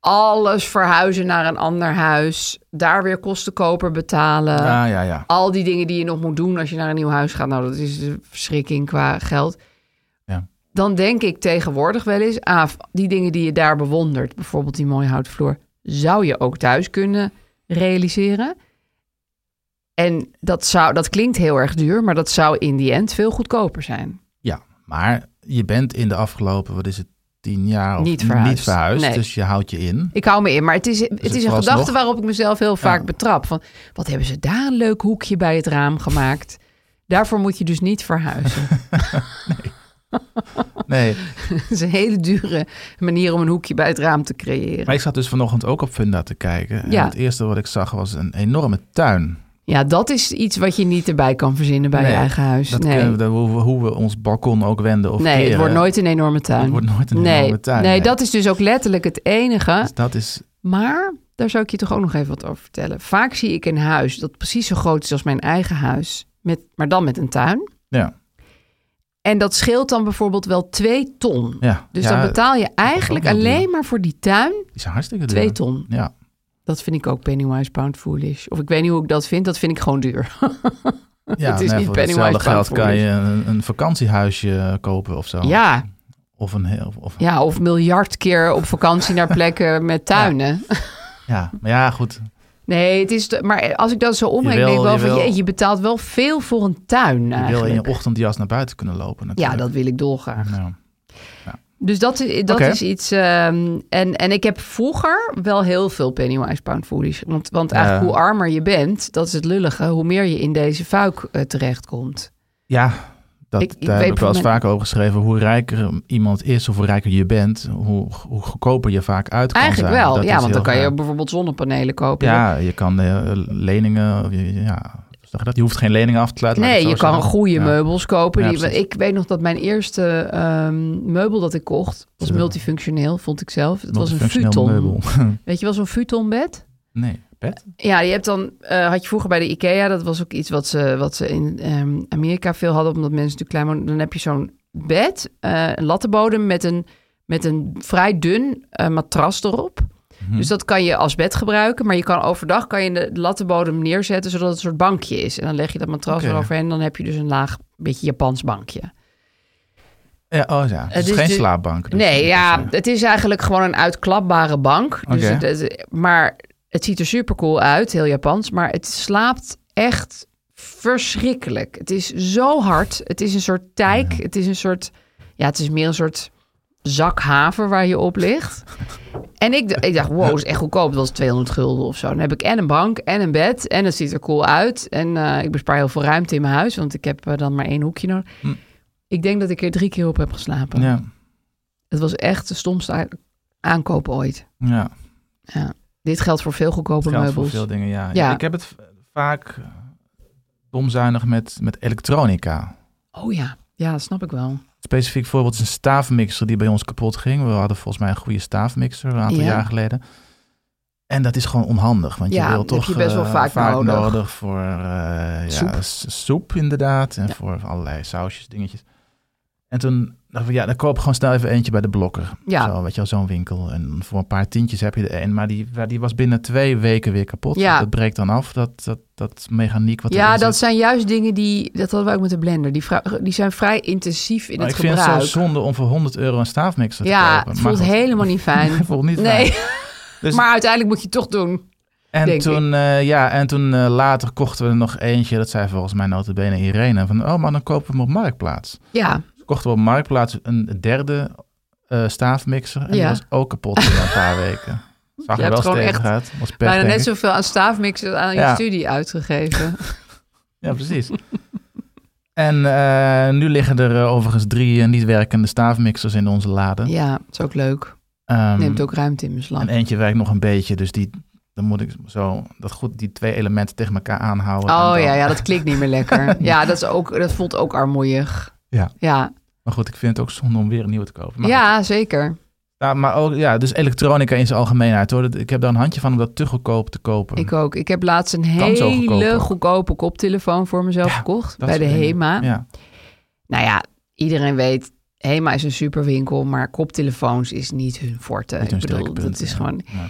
alles verhuizen naar een ander huis. Daar weer kostenkoper betalen ja, ja, ja. al die dingen die je nog moet doen als je naar een nieuw huis gaat. Nou, dat is de verschrikking qua geld. Ja. Dan denk ik tegenwoordig wel eens, Aaf, die dingen die je daar bewondert, bijvoorbeeld die mooie houtvloer, zou je ook thuis kunnen realiseren. En dat, zou, dat klinkt heel erg duur, maar dat zou in die end veel goedkoper zijn. Ja, maar je bent in de afgelopen, wat is het, tien jaar of Niet verhuisd. niet verhuisd, Nee. dus je houdt je in. Ik hou me in, maar het is, het Dus het is een vooralsnog- gedachte waarop ik mezelf heel vaak betrap. Van, wat hebben ze daar een leuk hoekje bij het raam gemaakt? Daarvoor moet je dus niet verhuizen. Nee, Het is een hele dure manier om een hoekje bij het raam te creëren. maar ik zat dus vanochtend ook op Funda te kijken. En Ja. het eerste wat ik zag was een enorme tuin. Ja, dat is iets wat je niet erbij kan verzinnen bij Nee, je eigen huis. Dat nee, kunnen we, hoe, we, hoe we ons balkon ook wenden of nee het keren. wordt nooit een enorme tuin. Het wordt nooit een nee. enorme tuin, Nee, nee. dat is dus ook letterlijk het enige. Dus dat is... Maar daar zou ik je toch ook nog even wat over vertellen. Vaak zie ik een huis dat precies zo groot is als mijn eigen huis, met, maar dan met een tuin. Ja, En dat scheelt dan bijvoorbeeld wel 2 ton. ja. Dus ja, dan betaal je eigenlijk ook wel duur. alleen maar voor die tuin Die zijn hartstikke duur. 2 ton. Ja. Dat vind ik ook Pennywise Pound Foolish. Of ik weet niet hoe ik dat vind, dat vind ik gewoon duur. ja, Het is nou, niet voor Pennywise hetzelfde geld Pound kan je een, een vakantiehuisje kopen of zo. Ja, Of een heel... Of, ja, of miljard keer op vakantie naar plekken met tuinen. ja, maar ja, goed. Nee, het is. te- Maar als ik dat zo omreken, Je wil- denk ik wel je van wil- je, je betaalt wel veel voor een tuin. Je wil in je Eigenlijk. ochtendjas naar buiten kunnen lopen ja, natuurlijk. dat wil ik dolgraag. Ja. Dus dat, i- dat Oké. is iets. ehm, en, en ik heb vroeger wel heel veel Pennywise Pound Foolish. Want, want eigenlijk Ja. hoe armer je bent, dat is het lullige, hoe meer je in deze fuik eh, terechtkomt. Ja, dat, Ik- ik daar weet heb ik wel eens van mijn- vaker over geschreven. Hoe rijker iemand is of hoe rijker je bent, hoe, hoe goedkoper je vaak uit kan Eigenlijk zijn. wel, Dat ja, is want dan heel kan je raar. bijvoorbeeld zonnepanelen kopen. Ja, je kan eh, leningen... of je- Ja, hoe zeg je dat? je hoeft geen leningen af te sluiten. laat ik Nee, het je zo kan zeggen. goede Ja. meubels kopen. Ja, die, precies. ik weet nog dat mijn eerste ehm, meubel dat ik kocht, was Zo. multifunctioneel, vond ik zelf. Het was een Multifunctioneel futon. meubel. Weet je wel, zo'n futonbed? nee, bed? Ja, je hebt dan, eh, had je vroeger bij de IKEA, dat was ook iets wat ze, wat ze in ehm, Amerika veel hadden, omdat mensen natuurlijk klein waren. Dan heb je zo'n bed, eh, een lattenbodem met een, met een vrij dun eh, matras erop. Dus dat kan je als bed gebruiken, maar je kan overdag kan je de lattenbodem neerzetten, zodat het een soort bankje is. En dan leg je dat matras Oké. eroverheen en dan heb je dus een laag, beetje Japans bankje. Ja, oh ja, het is Het is geen de- slaapbank. dus- Eh, Nee, dus, ja, eh, het is eigenlijk gewoon een uitklapbare bank. Dus Oké. het, het- maar het ziet er super cool uit, heel Japans. Maar het slaapt echt verschrikkelijk. Het is zo hard. Het is een soort tijk. Het is een soort, ja, het is meer een soort zak haver waar je op ligt. En ik, d- ik dacht, wow, is echt goedkoop. Dat was 200 gulden of zo. Dan heb ik en een bank en een bed. En het ziet er cool uit. En eh, ik bespaar heel veel ruimte in mijn huis. Want ik heb eh, dan maar één hoekje nodig. Ik denk dat ik er drie keer op heb geslapen. Hm. Ja, Het was echt de stomste a- aankoop ooit. ja. Ja. Dit geldt voor veel goedkope Geldt voor meubels. veel dingen, ja. Ja. Ik heb het v- vaak domzuinig met, met elektronica. Oh ja, ja, dat snap ik wel. Specifiek voorbeeld is een staafmixer die bij ons kapot ging. We hadden volgens mij een goede staafmixer een aantal Ja. jaar geleden. En dat is gewoon onhandig, want Ja, je wil heb toch je best wel eh, vaak nodig. voor eh, Soep. Ja, s- soep inderdaad en voor allerlei sausjes, dingetjes. En toen dacht ik, ja, dan koop ik gewoon snel even eentje bij de blokker. Ja. Zo, weet je wel, zo'n winkel. En voor een paar tientjes heb je er een, maar die, maar die was binnen twee weken weer kapot. Ja. Dat breekt dan af, dat, dat, dat mechaniek wat ja, erin dat zit. zijn juist dingen die... Dat hadden we ook met de blender. Die, vra- die zijn vrij intensief in Maar het ik vind gebruik. het zo zonde om voor 100 euro een staafmixer te ja, kopen. het Maar voelt goed. helemaal niet fijn. Het voelt niet nee, fijn. Dus- maar uiteindelijk moet je het toch doen. En denk toen, eh, ja, en toen eh, later kochten we er nog eentje. Dat zei volgens mij notabene Irene. Van, oh, maar dan kopen we hem op Marktplaats. Ja, Dus kochten we op Marktplaats een derde eh, staafmixer. En die Ja. was ook kapot in een paar weken. Zag Je er hebt wel gewoon steeds echt uit. Was pech, bijna denk net ik. zoveel aan staafmixen aan je Ja. studie uitgegeven. Ja, precies. en eh, nu liggen er eh, overigens drie eh, niet werkende staafmixers in onze lade. ja, dat is ook leuk. Ehm, Neemt ook ruimte in beslag. En eentje werkt nog een beetje. Dus die, dan moet ik zo dat goed, die twee elementen tegen elkaar aanhouden. en Oh dan- ja, ja, dat klinkt niet meer lekker. ja, dat, is ook, dat voelt ook armoeig. Ja. Ja, Maar goed, ik vind het ook zonde om weer een nieuwe te kopen. Maar ja zeker. Ja, maar ook, ja, dus elektronica in zijn algemeenheid hoor. Dat- Ik heb daar een handje van om dat te goedkoop te kopen. Ik ook. Ik heb laatst een Kan zo goedkoper. hele goedkope koptelefoon voor mezelf Ja, gekocht Dat bij de soort dingen. HEMA. Ja. Nou ja, iedereen weet, HEMA is een superwinkel, maar koptelefoons is niet hun forte. Niet hun ik bedoel, sterke punt, dat is ja. gewoon... Ja.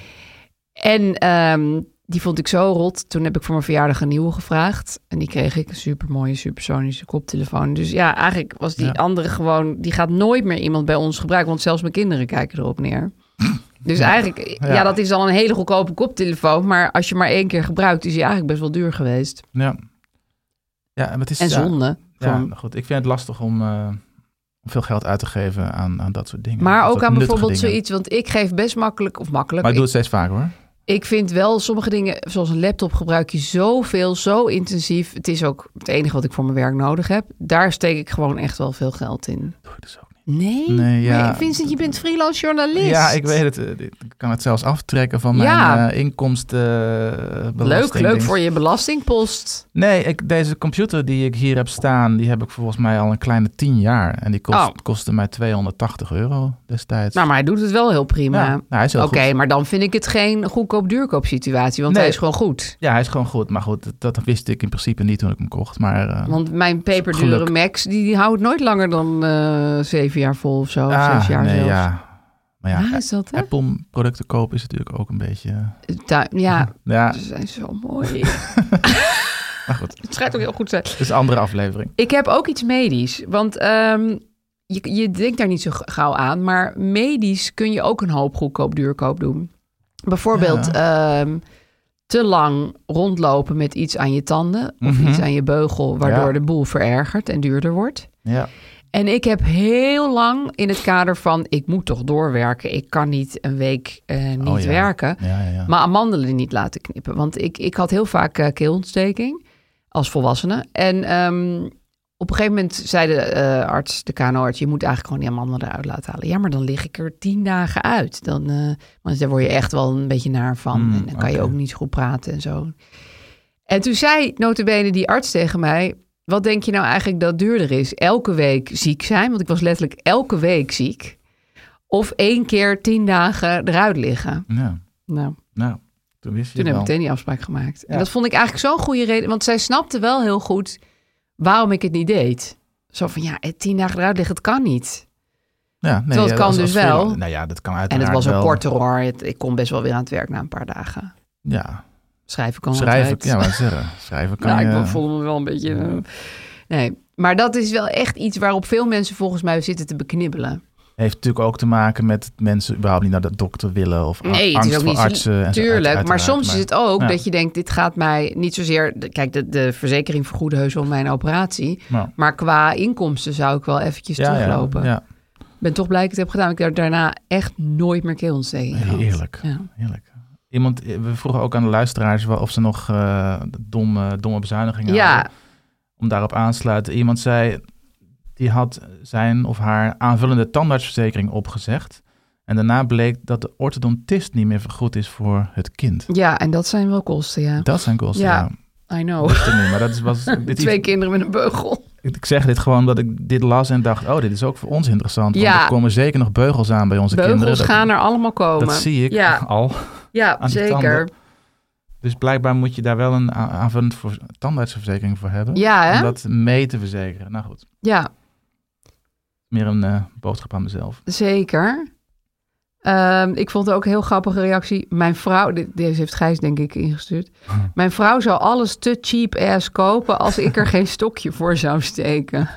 En ehm, die vond ik zo rot. Toen heb ik voor mijn verjaardag een nieuwe gevraagd. En die kreeg ik, een supermooie, supersonische koptelefoon. Dus ja, eigenlijk was die Ja. andere gewoon... Die gaat nooit meer iemand bij ons gebruiken, want zelfs mijn kinderen kijken erop neer. Dus eigenlijk, ja. Ja. dat is al een hele goedkope koptelefoon. Maar als je maar één keer gebruikt, is die eigenlijk best wel duur geweest. Ja. ja, maar het is... En ja, zonde. Ja, gewoon. goed. Ik vind het lastig om, eh, om veel geld uit te geven aan, aan dat soort dingen. Maar Dat ook soort aan nuttige bijvoorbeeld dingen. zoiets, want ik geef best makkelijk, of makkelijk, Maar ik ik, doe het steeds vaker hoor. ik vind wel sommige dingen, zoals een laptop, gebruik je zoveel, zo intensief. Het is ook het enige wat ik voor mijn werk nodig heb. Daar steek ik gewoon echt wel veel geld in. Doe ik dus ook niet. Nee? Nee, ja. Maar Vincent, je bent freelance journalist. Ja, ik weet het. Eh, Ik kan het zelfs aftrekken van mijn Ja. eh, inkomstenbelasting. Leuk, leuk ding. voor je belastingpost. Nee, ik, deze computer die ik hier heb staan, die heb ik volgens mij al een kleine tien jaar. En die kost, Oh. kostte mij 280 euro destijds. Nou, maar hij doet het wel heel prima. Ja, nou, hij is heel Oké, goed. maar dan vind ik het geen goedkoop-duurkoop situatie, want Nee. hij is gewoon goed. Ja, hij is gewoon goed. Maar goed, dat, dat wist ik in principe niet toen ik hem kocht. Maar eh, Want mijn peperdure Geluk. Max, die, die houdt nooit langer dan eh, zeven jaar vol of zo. Of ah, zes jaar nee, zelfs. ja. Maar ja, Waar is dat, hè? Apple producten kopen is natuurlijk ook een beetje... eh, Tuin- ja, Ja, ze zijn zo mooi. Het schijnt ook heel goed te zijn. het is een andere aflevering. Ik heb ook iets medisch. Want ehm, je, je denkt daar niet zo gauw aan. Maar medisch kun je ook een hoop goedkoop duurkoop doen. Bijvoorbeeld ehm, te lang rondlopen met iets aan je tanden. Of Mhm. iets aan je beugel. Waardoor Ja. de boel verergert en duurder wordt. Ja. En ik heb heel lang in het kader van... ik moet toch doorwerken. Ik kan niet een week eh, niet Oh, ja. werken. Ja, ja, ja. Maar amandelen niet laten knippen. Want ik, ik had heel vaak eh, keelontsteking als volwassene. En ehm, op een gegeven moment zei de eh, arts, de KNO-arts... je moet eigenlijk gewoon die amandelen eruit laten halen. Ja, maar dan lig ik er tien dagen uit. Dan, eh, want daar word je echt wel een beetje naar van. Mm, en dan kan je oké. ook niet goed praten en zo. En toen zei notabene die arts tegen mij... wat denk je nou eigenlijk dat duurder is? Elke week ziek zijn, want ik was letterlijk elke week ziek... of één keer tien dagen eruit liggen. Ja. Nou... Nou, toen wist je Toen heb het ik wel. meteen die afspraak gemaakt. En Ja. dat vond ik eigenlijk zo'n goede reden. Want zij snapte wel heel goed waarom ik het niet deed. Zo van, ja, eh, tien dagen eruit liggen, het kan niet. Ja, nee, Terwijl het ja, kan als- dus als wel. freelancer- Nou ja, dat kan en uiteraard het was een wel. korter hoor. Het- ik kon best wel weer aan het werk na een paar dagen. Ja, Schrijven kan schrijven, altijd. ja, maar zeggen, schrijven kan Nou, je... ik voelde me wel een beetje... eh, Nee, maar dat is wel echt iets waarop veel mensen volgens mij zitten te beknibbelen. heeft natuurlijk ook te maken met dat mensen überhaupt niet naar de dokter willen of a- Nee, het angst is ook voor niet artsen. en zo, uit- Tuurlijk, maar uiteraard, soms is het ook ja. dat je denkt, dit gaat mij niet zozeer... Kijk, de, de verzekering vergoedde heus wel mijn operatie. Nou, Maar qua inkomsten zou ik wel eventjes teruglopen. Ja, Ik ben toch blij dat ik het heb gedaan. Ik heb daarna echt nooit meer keelontsteking ja. gehad. Heerlijk, Ja. heerlijk. Iemand, we vroegen ook aan de luisteraars wa- of ze nog eh, domme, domme bezuinigingen Ja, hadden. Om daarop aansluiten. Iemand zei, die had zijn of haar aanvullende tandartsverzekering opgezegd. En daarna bleek dat de orthodontist niet meer vergoed is voor het kind. ja, en dat zijn wel kosten, ja. Dat zijn kosten, Ja. ja. I know. Dat is er niet, maar dat is, was, dit is- Twee kinderen met een beugel. Ik ik zeg dit gewoon omdat ik dit las en dacht, oh, dit is ook voor ons interessant. Want Ja. er komen zeker nog beugels aan bij onze Beugels kinderen. Dat- gaan er allemaal komen. Dat zie ik Ja, al. ja aan die zeker. tanden. Dus blijkbaar moet je daar wel een a- aanvullend voor, tandartsverzekering voor hebben. Ja, hè? Om dat mee te verzekeren. Nou goed, Ja, meer een eh, boodschap aan mezelf. zeker. Ehm, ik vond ook een heel grappige reactie. Mijn vrouw, de- deze heeft Gijs denk ik ingestuurd. Ah. Mijn vrouw zou alles te cheap ass kopen als ik er geen stokje voor zou steken.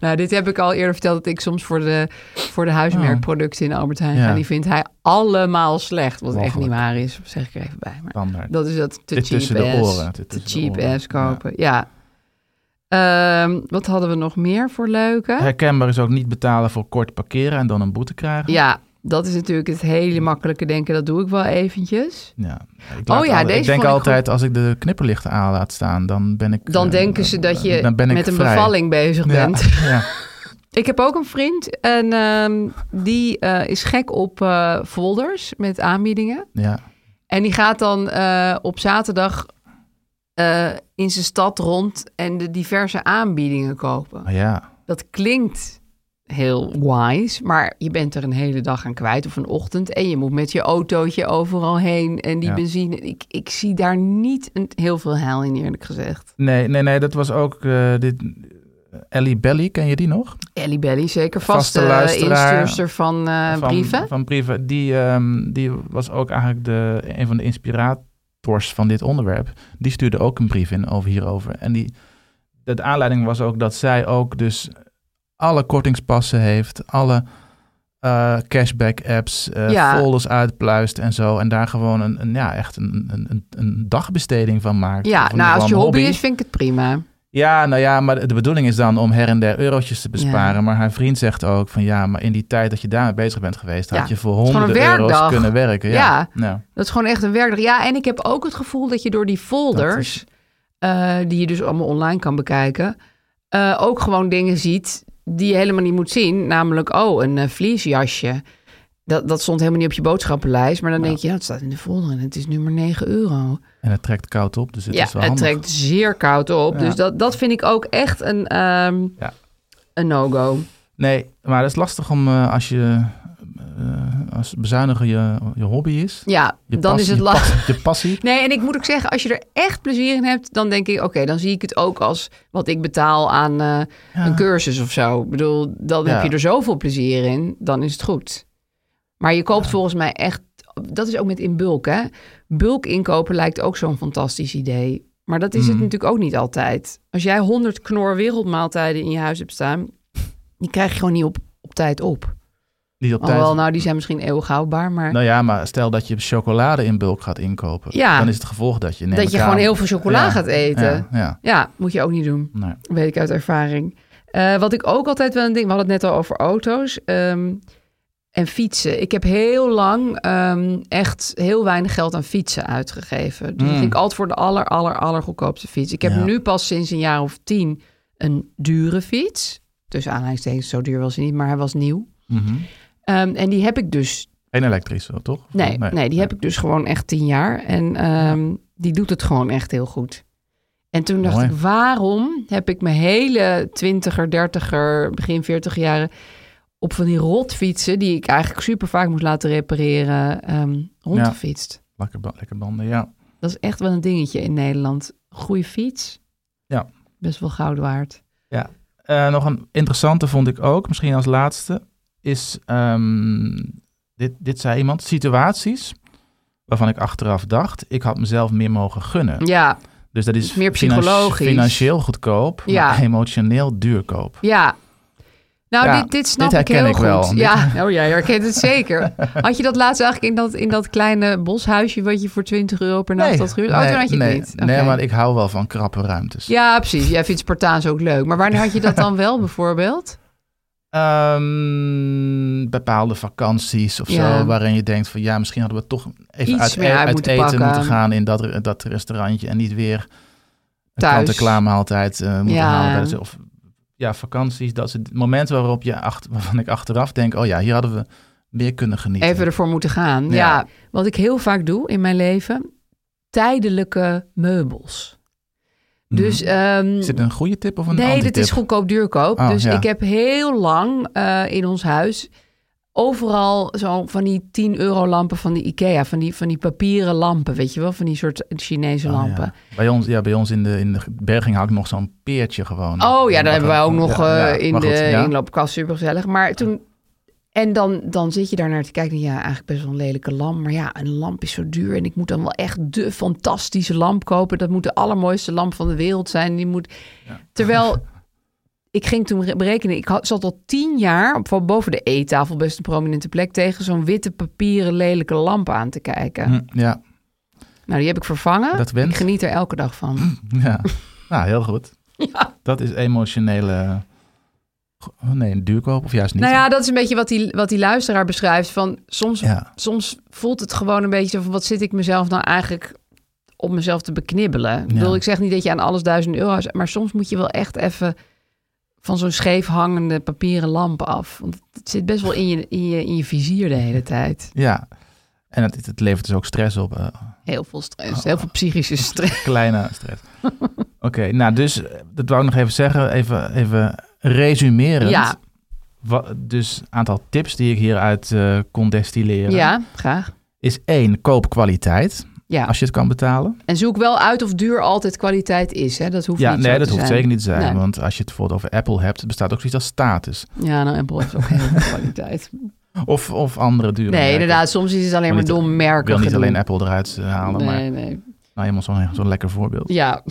Nou, dit heb ik al eerder verteld dat ik soms voor de, voor de huismerkproducten in Albert Heijn Ja. ga. Die vindt hij allemaal slecht. Wat echt niet Walgelijk. waar is, zeg ik er even bij. Maar Tandarts. dat is dat te Dit cheap tussen de ass, oren, dit te tussen de cheap oren. ass kopen, ja. Ehm, wat hadden we nog meer voor leuke? Herkenbaar is ook niet betalen voor kort parkeren en dan een boete krijgen. Ja, dat is natuurlijk het hele makkelijke denken. Dat doe ik wel eventjes. Ja. Ik, laat Oh ja, altijd- deze ik denk vond ik altijd, als ik de knipperlichten aan laat staan, dan ben ik... Dan eh, denken ze dat je dan ben ik met een vrij. bevalling bezig Ja, bent. ja. Ik heb ook een vriend en ehm, die eh, is gek op eh, folders met aanbiedingen. ja. En die gaat dan eh, op zaterdag eh, in zijn stad rond en de diverse aanbiedingen kopen. Oh ja. Dat klinkt heel wise, maar je bent er een hele dag aan kwijt of een ochtend. En je moet met je autootje overal heen en die Ja. benzine. Ik, ik zie daar niet een, heel veel heil in, eerlijk gezegd. Nee, nee, nee, dat was ook eh, dit. Ellie Belly, ken je die nog? Ellie Belly, zeker Vaste vaste eh, luisteraar instuurster van, eh, van brieven. Van brieven. Die, ehm, die was ook eigenlijk de, een van de inspirators van dit onderwerp. Die stuurde ook een brief in over hierover. En die, de, de aanleiding was ook dat zij ook dus alle kortingspassen heeft, alle eh, cashback-apps, eh, Ja. folders uitpluist en zo. En daar gewoon een, een ja, echt een, een, een, een dagbesteding van maakt. Of Ja, in ieder nou geval als je een hobby is, vind ik het prima. Ja, nou ja, maar de bedoeling is dan om her en der eurotjes te besparen. Maar haar vriend zegt ook van ja, maar in die tijd dat je daarmee bezig bent geweest, Ja. had je voor is gewoon honderden een euro's werkdag. kunnen werken. Ja. Nou, Dat is gewoon echt een werkdag. Ja, en ik heb ook het gevoel dat je door die folders, eh, die je dus allemaal online kan bekijken, eh, ook gewoon dingen ziet die je helemaal niet moet zien. Namelijk, oh, een eh, vliesjasje. Dat, dat stond helemaal niet op je boodschappenlijst. Maar dan denk je, ja, het staat in de folder en het is nu maar 9 euro. En het trekt koud op, dus het ja, is wel het handig. trekt zeer koud op. Ja. Dus dat, dat vind ik ook echt een, ehm, Ja. een no-go. Nee, maar het is lastig om eh, als je eh, als bezuinigen je, je hobby is. Ja, Je dan passie- is het je lastig. passie- Je passie. Nee, en ik moet ook zeggen, als je er echt plezier in hebt, dan denk ik, oké, dan zie ik het ook als wat ik betaal aan eh, een cursus of zo. Ik bedoel, dan Ja. heb je er zoveel plezier in, dan is het goed. Maar je koopt volgens mij echt, dat is ook met in bulk, hè? Bulk inkopen lijkt ook zo'n fantastisch idee. Maar dat is Mhm. het natuurlijk ook niet altijd. Als jij 100 knor wereldmaaltijden in je huis hebt staan, die krijg je gewoon niet op, op tijd op. Niet op tijd. Alhoewel, nou, die zijn misschien eeuwig houdbaar, maar... Nou ja, maar stel dat je chocolade in bulk gaat inkopen. Ja. Dan is het gevolg dat je... neem Dat ik je aan- gewoon heel veel chocola Ja, gaat eten. Ja, ja. Nou, Ja, moet je ook niet doen. Nee. Weet ik uit ervaring. Eh, wat ik ook altijd wel een ding... We hadden het net al over auto's ehm, en fietsen. Ik heb heel lang ehm, echt heel weinig geld aan fietsen uitgegeven. Dus Mm. ik ging altijd voor de aller, aller, aller goedkoopste fiets. Ik heb Ja. nu pas sinds een jaar of tien een dure fiets. Tussen aanhalingstekens, zo duur was hij niet, maar hij was nieuw. Mhm. Ehm, en die heb ik dus... Geen elektrische, toch? Nee, nee, die heb ik dus gewoon echt tien jaar. En ehm, die doet het gewoon echt heel goed. En toen dacht Mooi. ik, waarom heb ik mijn hele twintiger, dertiger, begin veertig jaren op van die rotfietsen, die ik eigenlijk super vaak moest laten repareren, ehm rondgefietst? Lekker, ba- lekker banden, ja. Dat is echt wel een dingetje in Nederland. Goeie fiets. Ja. Best wel goud waard. Eh, nog een interessante vond ik ook, misschien als laatste, is, ehm, dit, dit zei iemand, situaties waarvan ik achteraf dacht, ik had mezelf meer mogen gunnen. Ja, Dus dat is Meer finan- psychologisch. financieel goedkoop, Ja. maar emotioneel duurkoop. ja. Nou, Ja, dit, dit snap dit ik heel herken ik goed. wel. Dit- Ja, oh, jij herkent het zeker. Had je dat laatst eigenlijk in dat, in dat kleine boshuisje wat je voor 20 euro per nacht had gehuurd? Oh, toen had je het nee, niet. nee, Oké. maar ik hou wel van krappe ruimtes. Ja, precies. Jij vindt Spartaans ook leuk. Maar wanneer had je dat dan wel bijvoorbeeld? Ehm, bepaalde vakanties of Ja. zo, waarin je denkt van ja, misschien hadden we toch even Iets uit, e- meer uit uit moeten eten pakken. moeten gaan in dat, re- dat restaurantje en niet weer een Thuis. kant-en-klaar maaltijd eh, moeten Ja. halen. Bij de, of ja, vakanties, dat is het moment waarop je acht, waarvan ik achteraf denk, oh ja, hier hadden we meer kunnen genieten. Even ervoor moeten gaan. Ja. Ja. Wat ik heel vaak doe in mijn leven, tijdelijke meubels. Mhm. Dus ehm, is dit een goede tip of een nee, antitip? dit is goedkoop duurkoop. Oh, dus ja. ik heb heel lang eh, in ons huis overal zo van die 10 euro lampen van de IKEA, van die, van die papieren lampen, weet je wel, van die soort Chinese Oh, ja. lampen. Bij ons, ja, bij ons in de, in de berging hangt nog zo'n peertje gewoon. Oh ja, daar hebben wij ook nog Ja, ja, eh, in maar goed, de ja. inloopkast. Super gezellig. Maar toen. En dan, dan zit je daar naar te kijken. Ja, eigenlijk best wel een lelijke lamp. Maar ja, een lamp is zo duur. En ik moet dan wel echt de fantastische lamp kopen. Dat moet de allermooiste lamp van de wereld zijn. Die moet... Terwijl ik ging toen re- berekenen. Ik had, zat al tien jaar op, van boven de eettafel, best een prominente plek, tegen zo'n witte papieren lelijke lamp aan te kijken. Hm, ja, Nou, die heb ik vervangen. Dat Hm, went. Ik geniet er elke dag van. Ja, nou heel goed. Dat is emotionele. oh nee, een duurkoop of juist niet. Nou ja, dat is een beetje wat die, wat die luisteraar beschrijft. Van soms, Ja. soms voelt het gewoon een beetje zo van... wat zit ik mezelf nou eigenlijk op mezelf te beknibbelen? Ik, bedoel, ik zeg niet dat je aan alles duizend euro... maar soms moet je wel echt even van zo'n scheef hangende papieren lamp af. Want het zit best wel in je, in je, in je vizier de hele tijd. Ja. En het, het levert dus ook stress op. eh, Heel veel stress, heel veel psychische stress. kleine stress. Oké, nou dus, eh, dat wou ik nog even zeggen. Even, even resumerend. Ja, Wa- dus een aantal tips die ik hieruit eh, kon destilleren. ja, graag. Is één, koop kwaliteit. Ja. Als je het kan betalen. En zoek wel uit of duur altijd kwaliteit is. Hè? Dat hoeft ja, niet nee, zo dat te hoeft zijn. zeker niet te zijn. Nee. Want als je het bijvoorbeeld over Apple hebt, bestaat ook zoiets als status. Ja, nou, Apple heeft ook heel veel kwaliteit. Of, of andere dure Nee, merken. inderdaad. Soms is het alleen maar niet- dom Ik merken. wil niet gedoe. alleen Apple eruit eh, halen, maar Nee, nee. nou, helemaal zo'n zo'n lekker voorbeeld. Ja,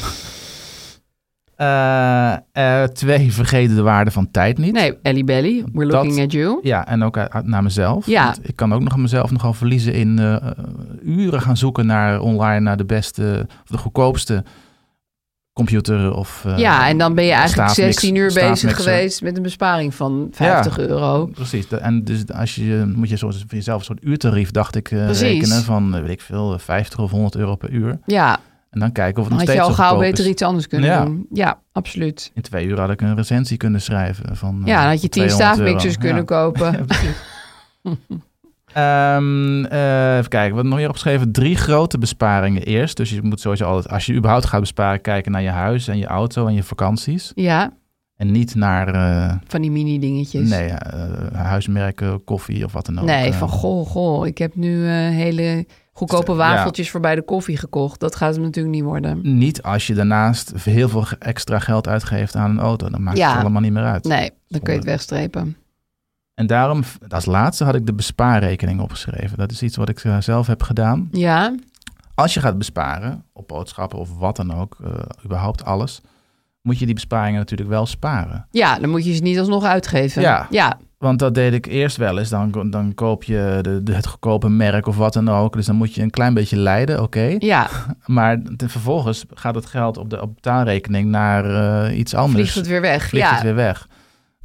Eh, eh, twee, vergeet de waarde van tijd niet. nee, Ellie Belly, we're Dat- looking at you. Ja, en ook uit- uit- naar mezelf. Ja. Want ik kan ook nog aan mezelf nogal verliezen in eh, eh, uren gaan zoeken naar online naar de beste of de goedkoopste computer of eh, ja, en dan ben je eigenlijk staafmix- 16 uur bezig staafmixer. geweest met een besparing van 50 euro. Precies, de- en dus als je moet je soort, voor jezelf een soort uurtarief, dacht ik, eh, Precies. rekenen van eh, weet ik veel, 50 of 100 euro per uur. Ja, En dan kijken of het Dan had nog je steeds al zo gauw goedkoop beter is. iets anders kunnen Ja. doen. Ja, absoluut. In twee uur had ik een recensie kunnen schrijven. Van, Ja, eh, dan had je tien 200 staafmixers kunnen euro. Ja. Ja, kopen. precies. Ehm, eh, even kijken, wat nog hier opgeschreven? Drie grote besparingen eerst. Dus je moet sowieso altijd, als je überhaupt gaat besparen, kijken naar je huis en je auto en je vakanties. Ja, En niet naar eh, van die mini-dingetjes. nee, eh, huismerken, koffie of wat dan ook. Nee, Eh, van goh, goh, ik heb nu eh, hele goedkope Ja. wafeltjes voor bij de koffie gekocht. Dat gaat hem natuurlijk niet worden. Niet als je daarnaast heel veel extra geld uitgeeft aan een auto. Dan maakt Ja. het allemaal niet meer uit. Nee, dan kun je het Zonde. wegstrepen. En daarom, als laatste had ik de bespaarrekening opgeschreven. Dat is iets wat ik eh, zelf heb gedaan. Ja, Als je gaat besparen op boodschappen of wat dan ook, eh, überhaupt alles, moet je die besparingen natuurlijk wel sparen. ja, dan moet je ze niet alsnog uitgeven. Ja. ja. Want dat deed ik eerst wel eens. Dan, dan koop je de, de- het goedkope merk of wat dan ook. Dus dan moet je een klein beetje lijden, oké. ja. Maar te- vervolgens gaat het geld op de op betaalrekening naar eh, iets anders. vliegt het weer weg. vliegt ja. het weer weg.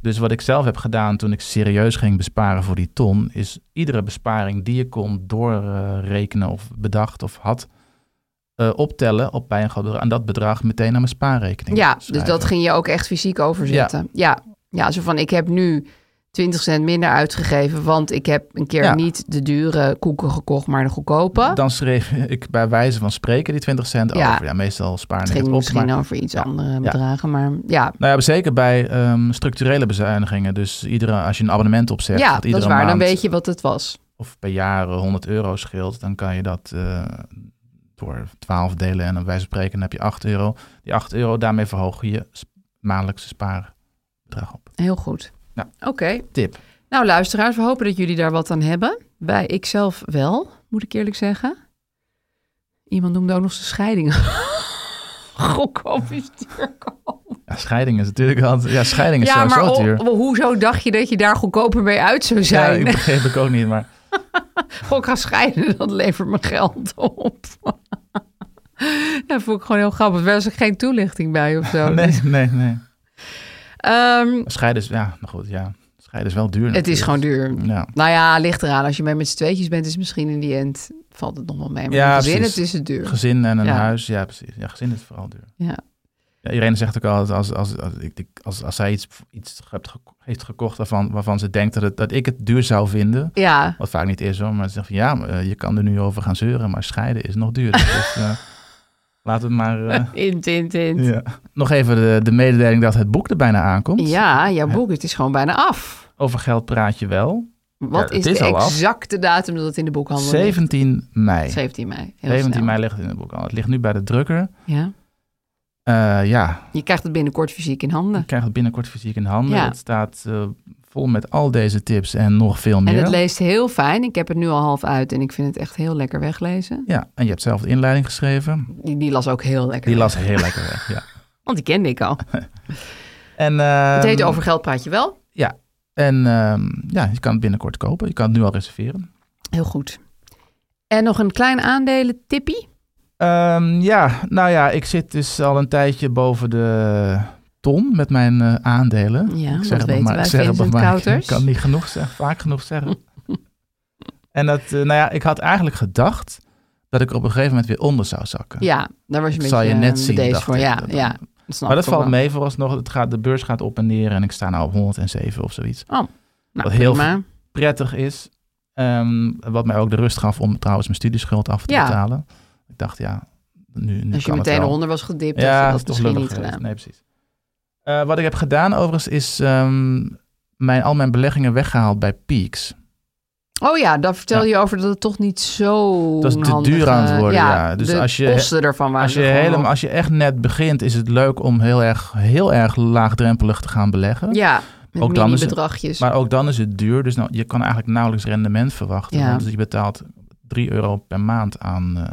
Dus wat ik zelf heb gedaan toen ik serieus ging besparen voor die ton, is iedere besparing die je kon doorrekenen of bedacht of had, eh, optellen op bij een groot bedrag. En dat bedrag meteen naar mijn spaarrekening. Ja, dus schrijven. dat ging je ook echt fysiek overzetten. Ja. ja. zo van ik heb nu 20 cent minder uitgegeven, want ik heb een keer Ja. niet de dure koeken gekocht, maar de goedkope. Dan schreef ik bij wijze van spreken die 20 cent Ja. over. Ja, meestal spaar het ik ging het op. misschien maar- over iets Ja. andere Ja. bedragen, maar ja. Nou ja, zeker bij ehm, structurele bezuinigingen. Dus iedere, als je een abonnement opzegt, Ja, dat dat iedere is waar. Dan maand weet je wat het was. of per jaar eh, 100 euro scheelt, dan kan je dat eh, door 12 delen en dan wijze van spreken dan heb je 8 euro. Die 8 euro, daarmee verhoog je je sp- maandelijkse spaarbedrag op. Heel goed. Ja. Oké. Tip. Nou, luisteraars, we hopen dat jullie daar wat aan hebben. Wij, ik zelf wel, moet ik eerlijk zeggen. Iemand noemde ook nog zijn scheiding. Gok op is duurkoop. Ja, scheiding is natuurlijk altijd... Ja, scheiding is Ja, maar sowieso ho- duur. ho- hoezo dacht je dat je daar goedkoper mee uit zou Ja, zijn? ik begreep ik ook niet, maar... Gewoon gaan scheiden, dat levert mijn geld op. dat vond ik gewoon heel grappig. Er was ook geen toelichting bij of zo. Nee, nee, nee. Ehm, Scheiden is... Ja, nou goed, ja. Scheiden is wel duur het is natuurlijk. gewoon duur. Ja. Nou ja, ligt eraan. Als je mee met z'n tweetjes bent, is misschien in die end... valt het nog wel mee. Maar Ja, ja, gezin, precies. het is het duur. Gezin en een Ja. huis, ja precies. Ja, gezin is vooral duur. Ja. Ja, iedereen zegt ook altijd, als, als, als, ik- ik- als, als zij iets, iets hebt geko- heeft gekocht waarvan, waarvan ze denkt dat, het, dat ik het duur zou vinden, Ja, wat vaak niet is hoor, maar ze zeggen van ja, maar, eh, je kan er nu over gaan zeuren, maar scheiden is nog duurder. dus eh, laten we maar... eh, in, in, in. Ja. ja. Nog even de, de mededeling dat het boek er bijna aankomt. jouw boek, het is gewoon bijna af. Over geld praat je wel. Wat Ja, is, het is de al af. exacte datum dat het in de boekhandel ligt? 17 mei. 17 mei. Heel 17 snel. mei ligt het in de boekhandel. Het ligt nu bij de drukker. Ja. Eh, ja, Je krijgt het binnenkort fysiek in handen. Ik krijg het binnenkort fysiek in handen. Ja. Het staat eh, vol met al deze tips en nog veel meer. En het leest heel fijn. Ik heb het nu al half uit en ik vind het echt heel lekker weglezen. ja, en je hebt zelf de inleiding geschreven. Die, die las ook heel lekker. Die las heel lekker weg. Ja. Want die kende ik al. En, ehm, het heet Over Geld Praat je wel. En ehm, ja, je kan het binnenkort kopen. Je kan het nu al reserveren. Heel goed. En nog een klein aandelen tippie. Ehm, ja, nou ja, ik zit dus al een tijdje boven de ton met mijn eh, aandelen. Ja, ik dat het nog weten wij, ik zeg het nog Vincent maar. Kouters. Ik kan niet genoeg zeggen, vaak genoeg zeggen. en dat, eh, nou ja, ik had eigenlijk gedacht dat ik er op een gegeven moment weer onder zou zakken. Ja, daar was je een zal je beetje net eh, zien, bedeesd dacht voor. ik. Ja, Dat- ja, dat snap Maar ik dat ook valt wel. mee vooralsnog. Het gaat, de beurs gaat op en neer en ik sta nou op 107 of zoiets. Nou, Wat heel prima. Prettig is. Ehm, wat mij ook de rust gaf om trouwens mijn studieschuld af te Ja. betalen. Ik dacht, ja, nu, nu Als je kan het meteen wel. eronder was gedipt, had Ja, je dat dat is toch misschien lullig niet geweest. gedaan. Nee, precies. Eh, wat ik heb gedaan overigens is ehm, mijn, al mijn beleggingen weggehaald bij Peaks. Oh ja, daar vertel je over dat het toch niet zo Dat is te handig, duur aan het eh, worden, ja. Dus de als je- kosten ervan waren Als je, er gewoon helemaal, al- als je echt net begint, is het leuk om heel erg, heel erg laagdrempelig te gaan beleggen. Ja, met Ook dan is het- mini-bedragjes. Maar ook dan is het duur. Dus nou, je kan eigenlijk nauwelijks rendement verwachten. Ja. Want dus je betaalt 3 euro per maand aan, eh,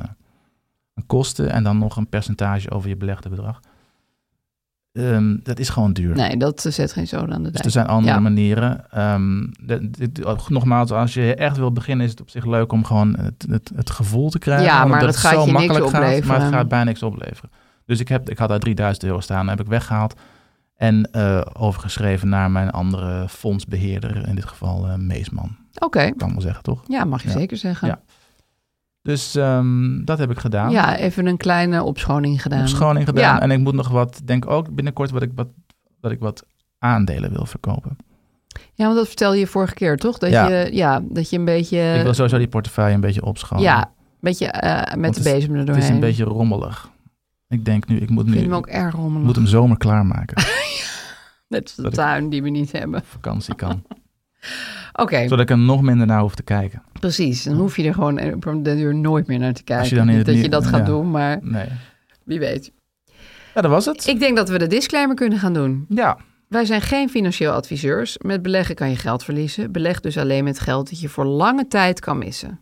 aan kosten. En dan nog een percentage over je belegde bedrag. Ehm, dat is gewoon duur. Nee, dat eh, zet geen zoden aan de Dus dijk. er zijn andere Ja. manieren. Ehm, de- dit- ook nogmaals, als je echt wil beginnen, is het op zich leuk om gewoon het, het, het gevoel te krijgen. Ja, omdat maar het gaat je niks gaat, Maar opleveren. het gaat bijna niks opleveren. Dus ik, heb, ik had daar 3000 euro staan, heb ik weggehaald. En eh, overgeschreven naar mijn andere fondsbeheerder, in dit geval eh, Meesman. Oké, Ik kan wel zeggen, toch? ja, mag je Ja. zeker zeggen. Ja. Dus ehm, dat heb ik gedaan. Ja, even een kleine opschoning gedaan. Opschoning gedaan. Ja. En ik moet nog wat, denk ook binnenkort wat ik wat, dat ik wat aandelen wil verkopen. Ja, want dat vertelde je vorige keer, toch? Dat, Ja. Je, ja, dat je een beetje, ik wil sowieso die portefeuille een beetje opschonen. Eh, ja, een beetje eh, met Want de het is- bezem er Het doorheen. is een beetje rommelig. Ik denk nu, ik moet Ik nu, vind hem ook erg rommelig. moet hem zomer klaarmaken. Net als de dat ik- tuin die we niet hebben. Vakantie kan. Oké, Zodat ik er nog minder naar hoef te kijken. precies. Dan hoef je er gewoon op de deur nooit meer naar te kijken. Als je dan in niet het dat je nieuw- dat gaat ja. doen, maar Nee. wie weet. Ja, dat was het. Ik denk dat we de disclaimer kunnen gaan doen. Ja, Wij zijn geen financieel adviseurs. Met beleggen kan je geld verliezen. Beleg dus alleen met geld dat je voor lange tijd kan missen.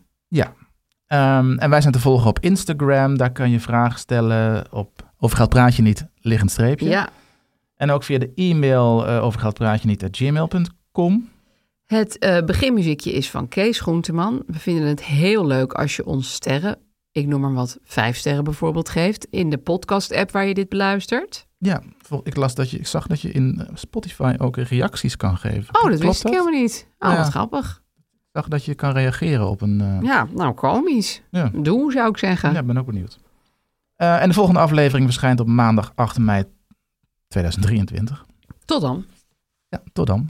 Ehm, en wij zijn te volgen op Instagram. Daar kan je vragen stellen op Over geld praat je niet, liggend streepje. Ja, En ook via de e-mail eh over geld praat je niet, gmail.com. Het eh, beginmuziekje is van Kees Groenteman. We vinden het heel leuk als je ons sterren, ik noem maar wat, vijf sterren bijvoorbeeld, geeft in de podcast-app waar je dit beluistert. Ja, vol- ik, las dat je, ik zag dat je in eh, Spotify ook reacties kan geven. Oh, dat Klopt wist ik helemaal niet. Oh, Ja. wat grappig. Ik zag dat je kan reageren op een... eh, Ja, nou, komisch. Ja. Doe, zou ik zeggen. Ja, ik ben ook benieuwd. Eh, en de volgende aflevering verschijnt op maandag 8 mei 2023. Tot dan. Ja, tot dan.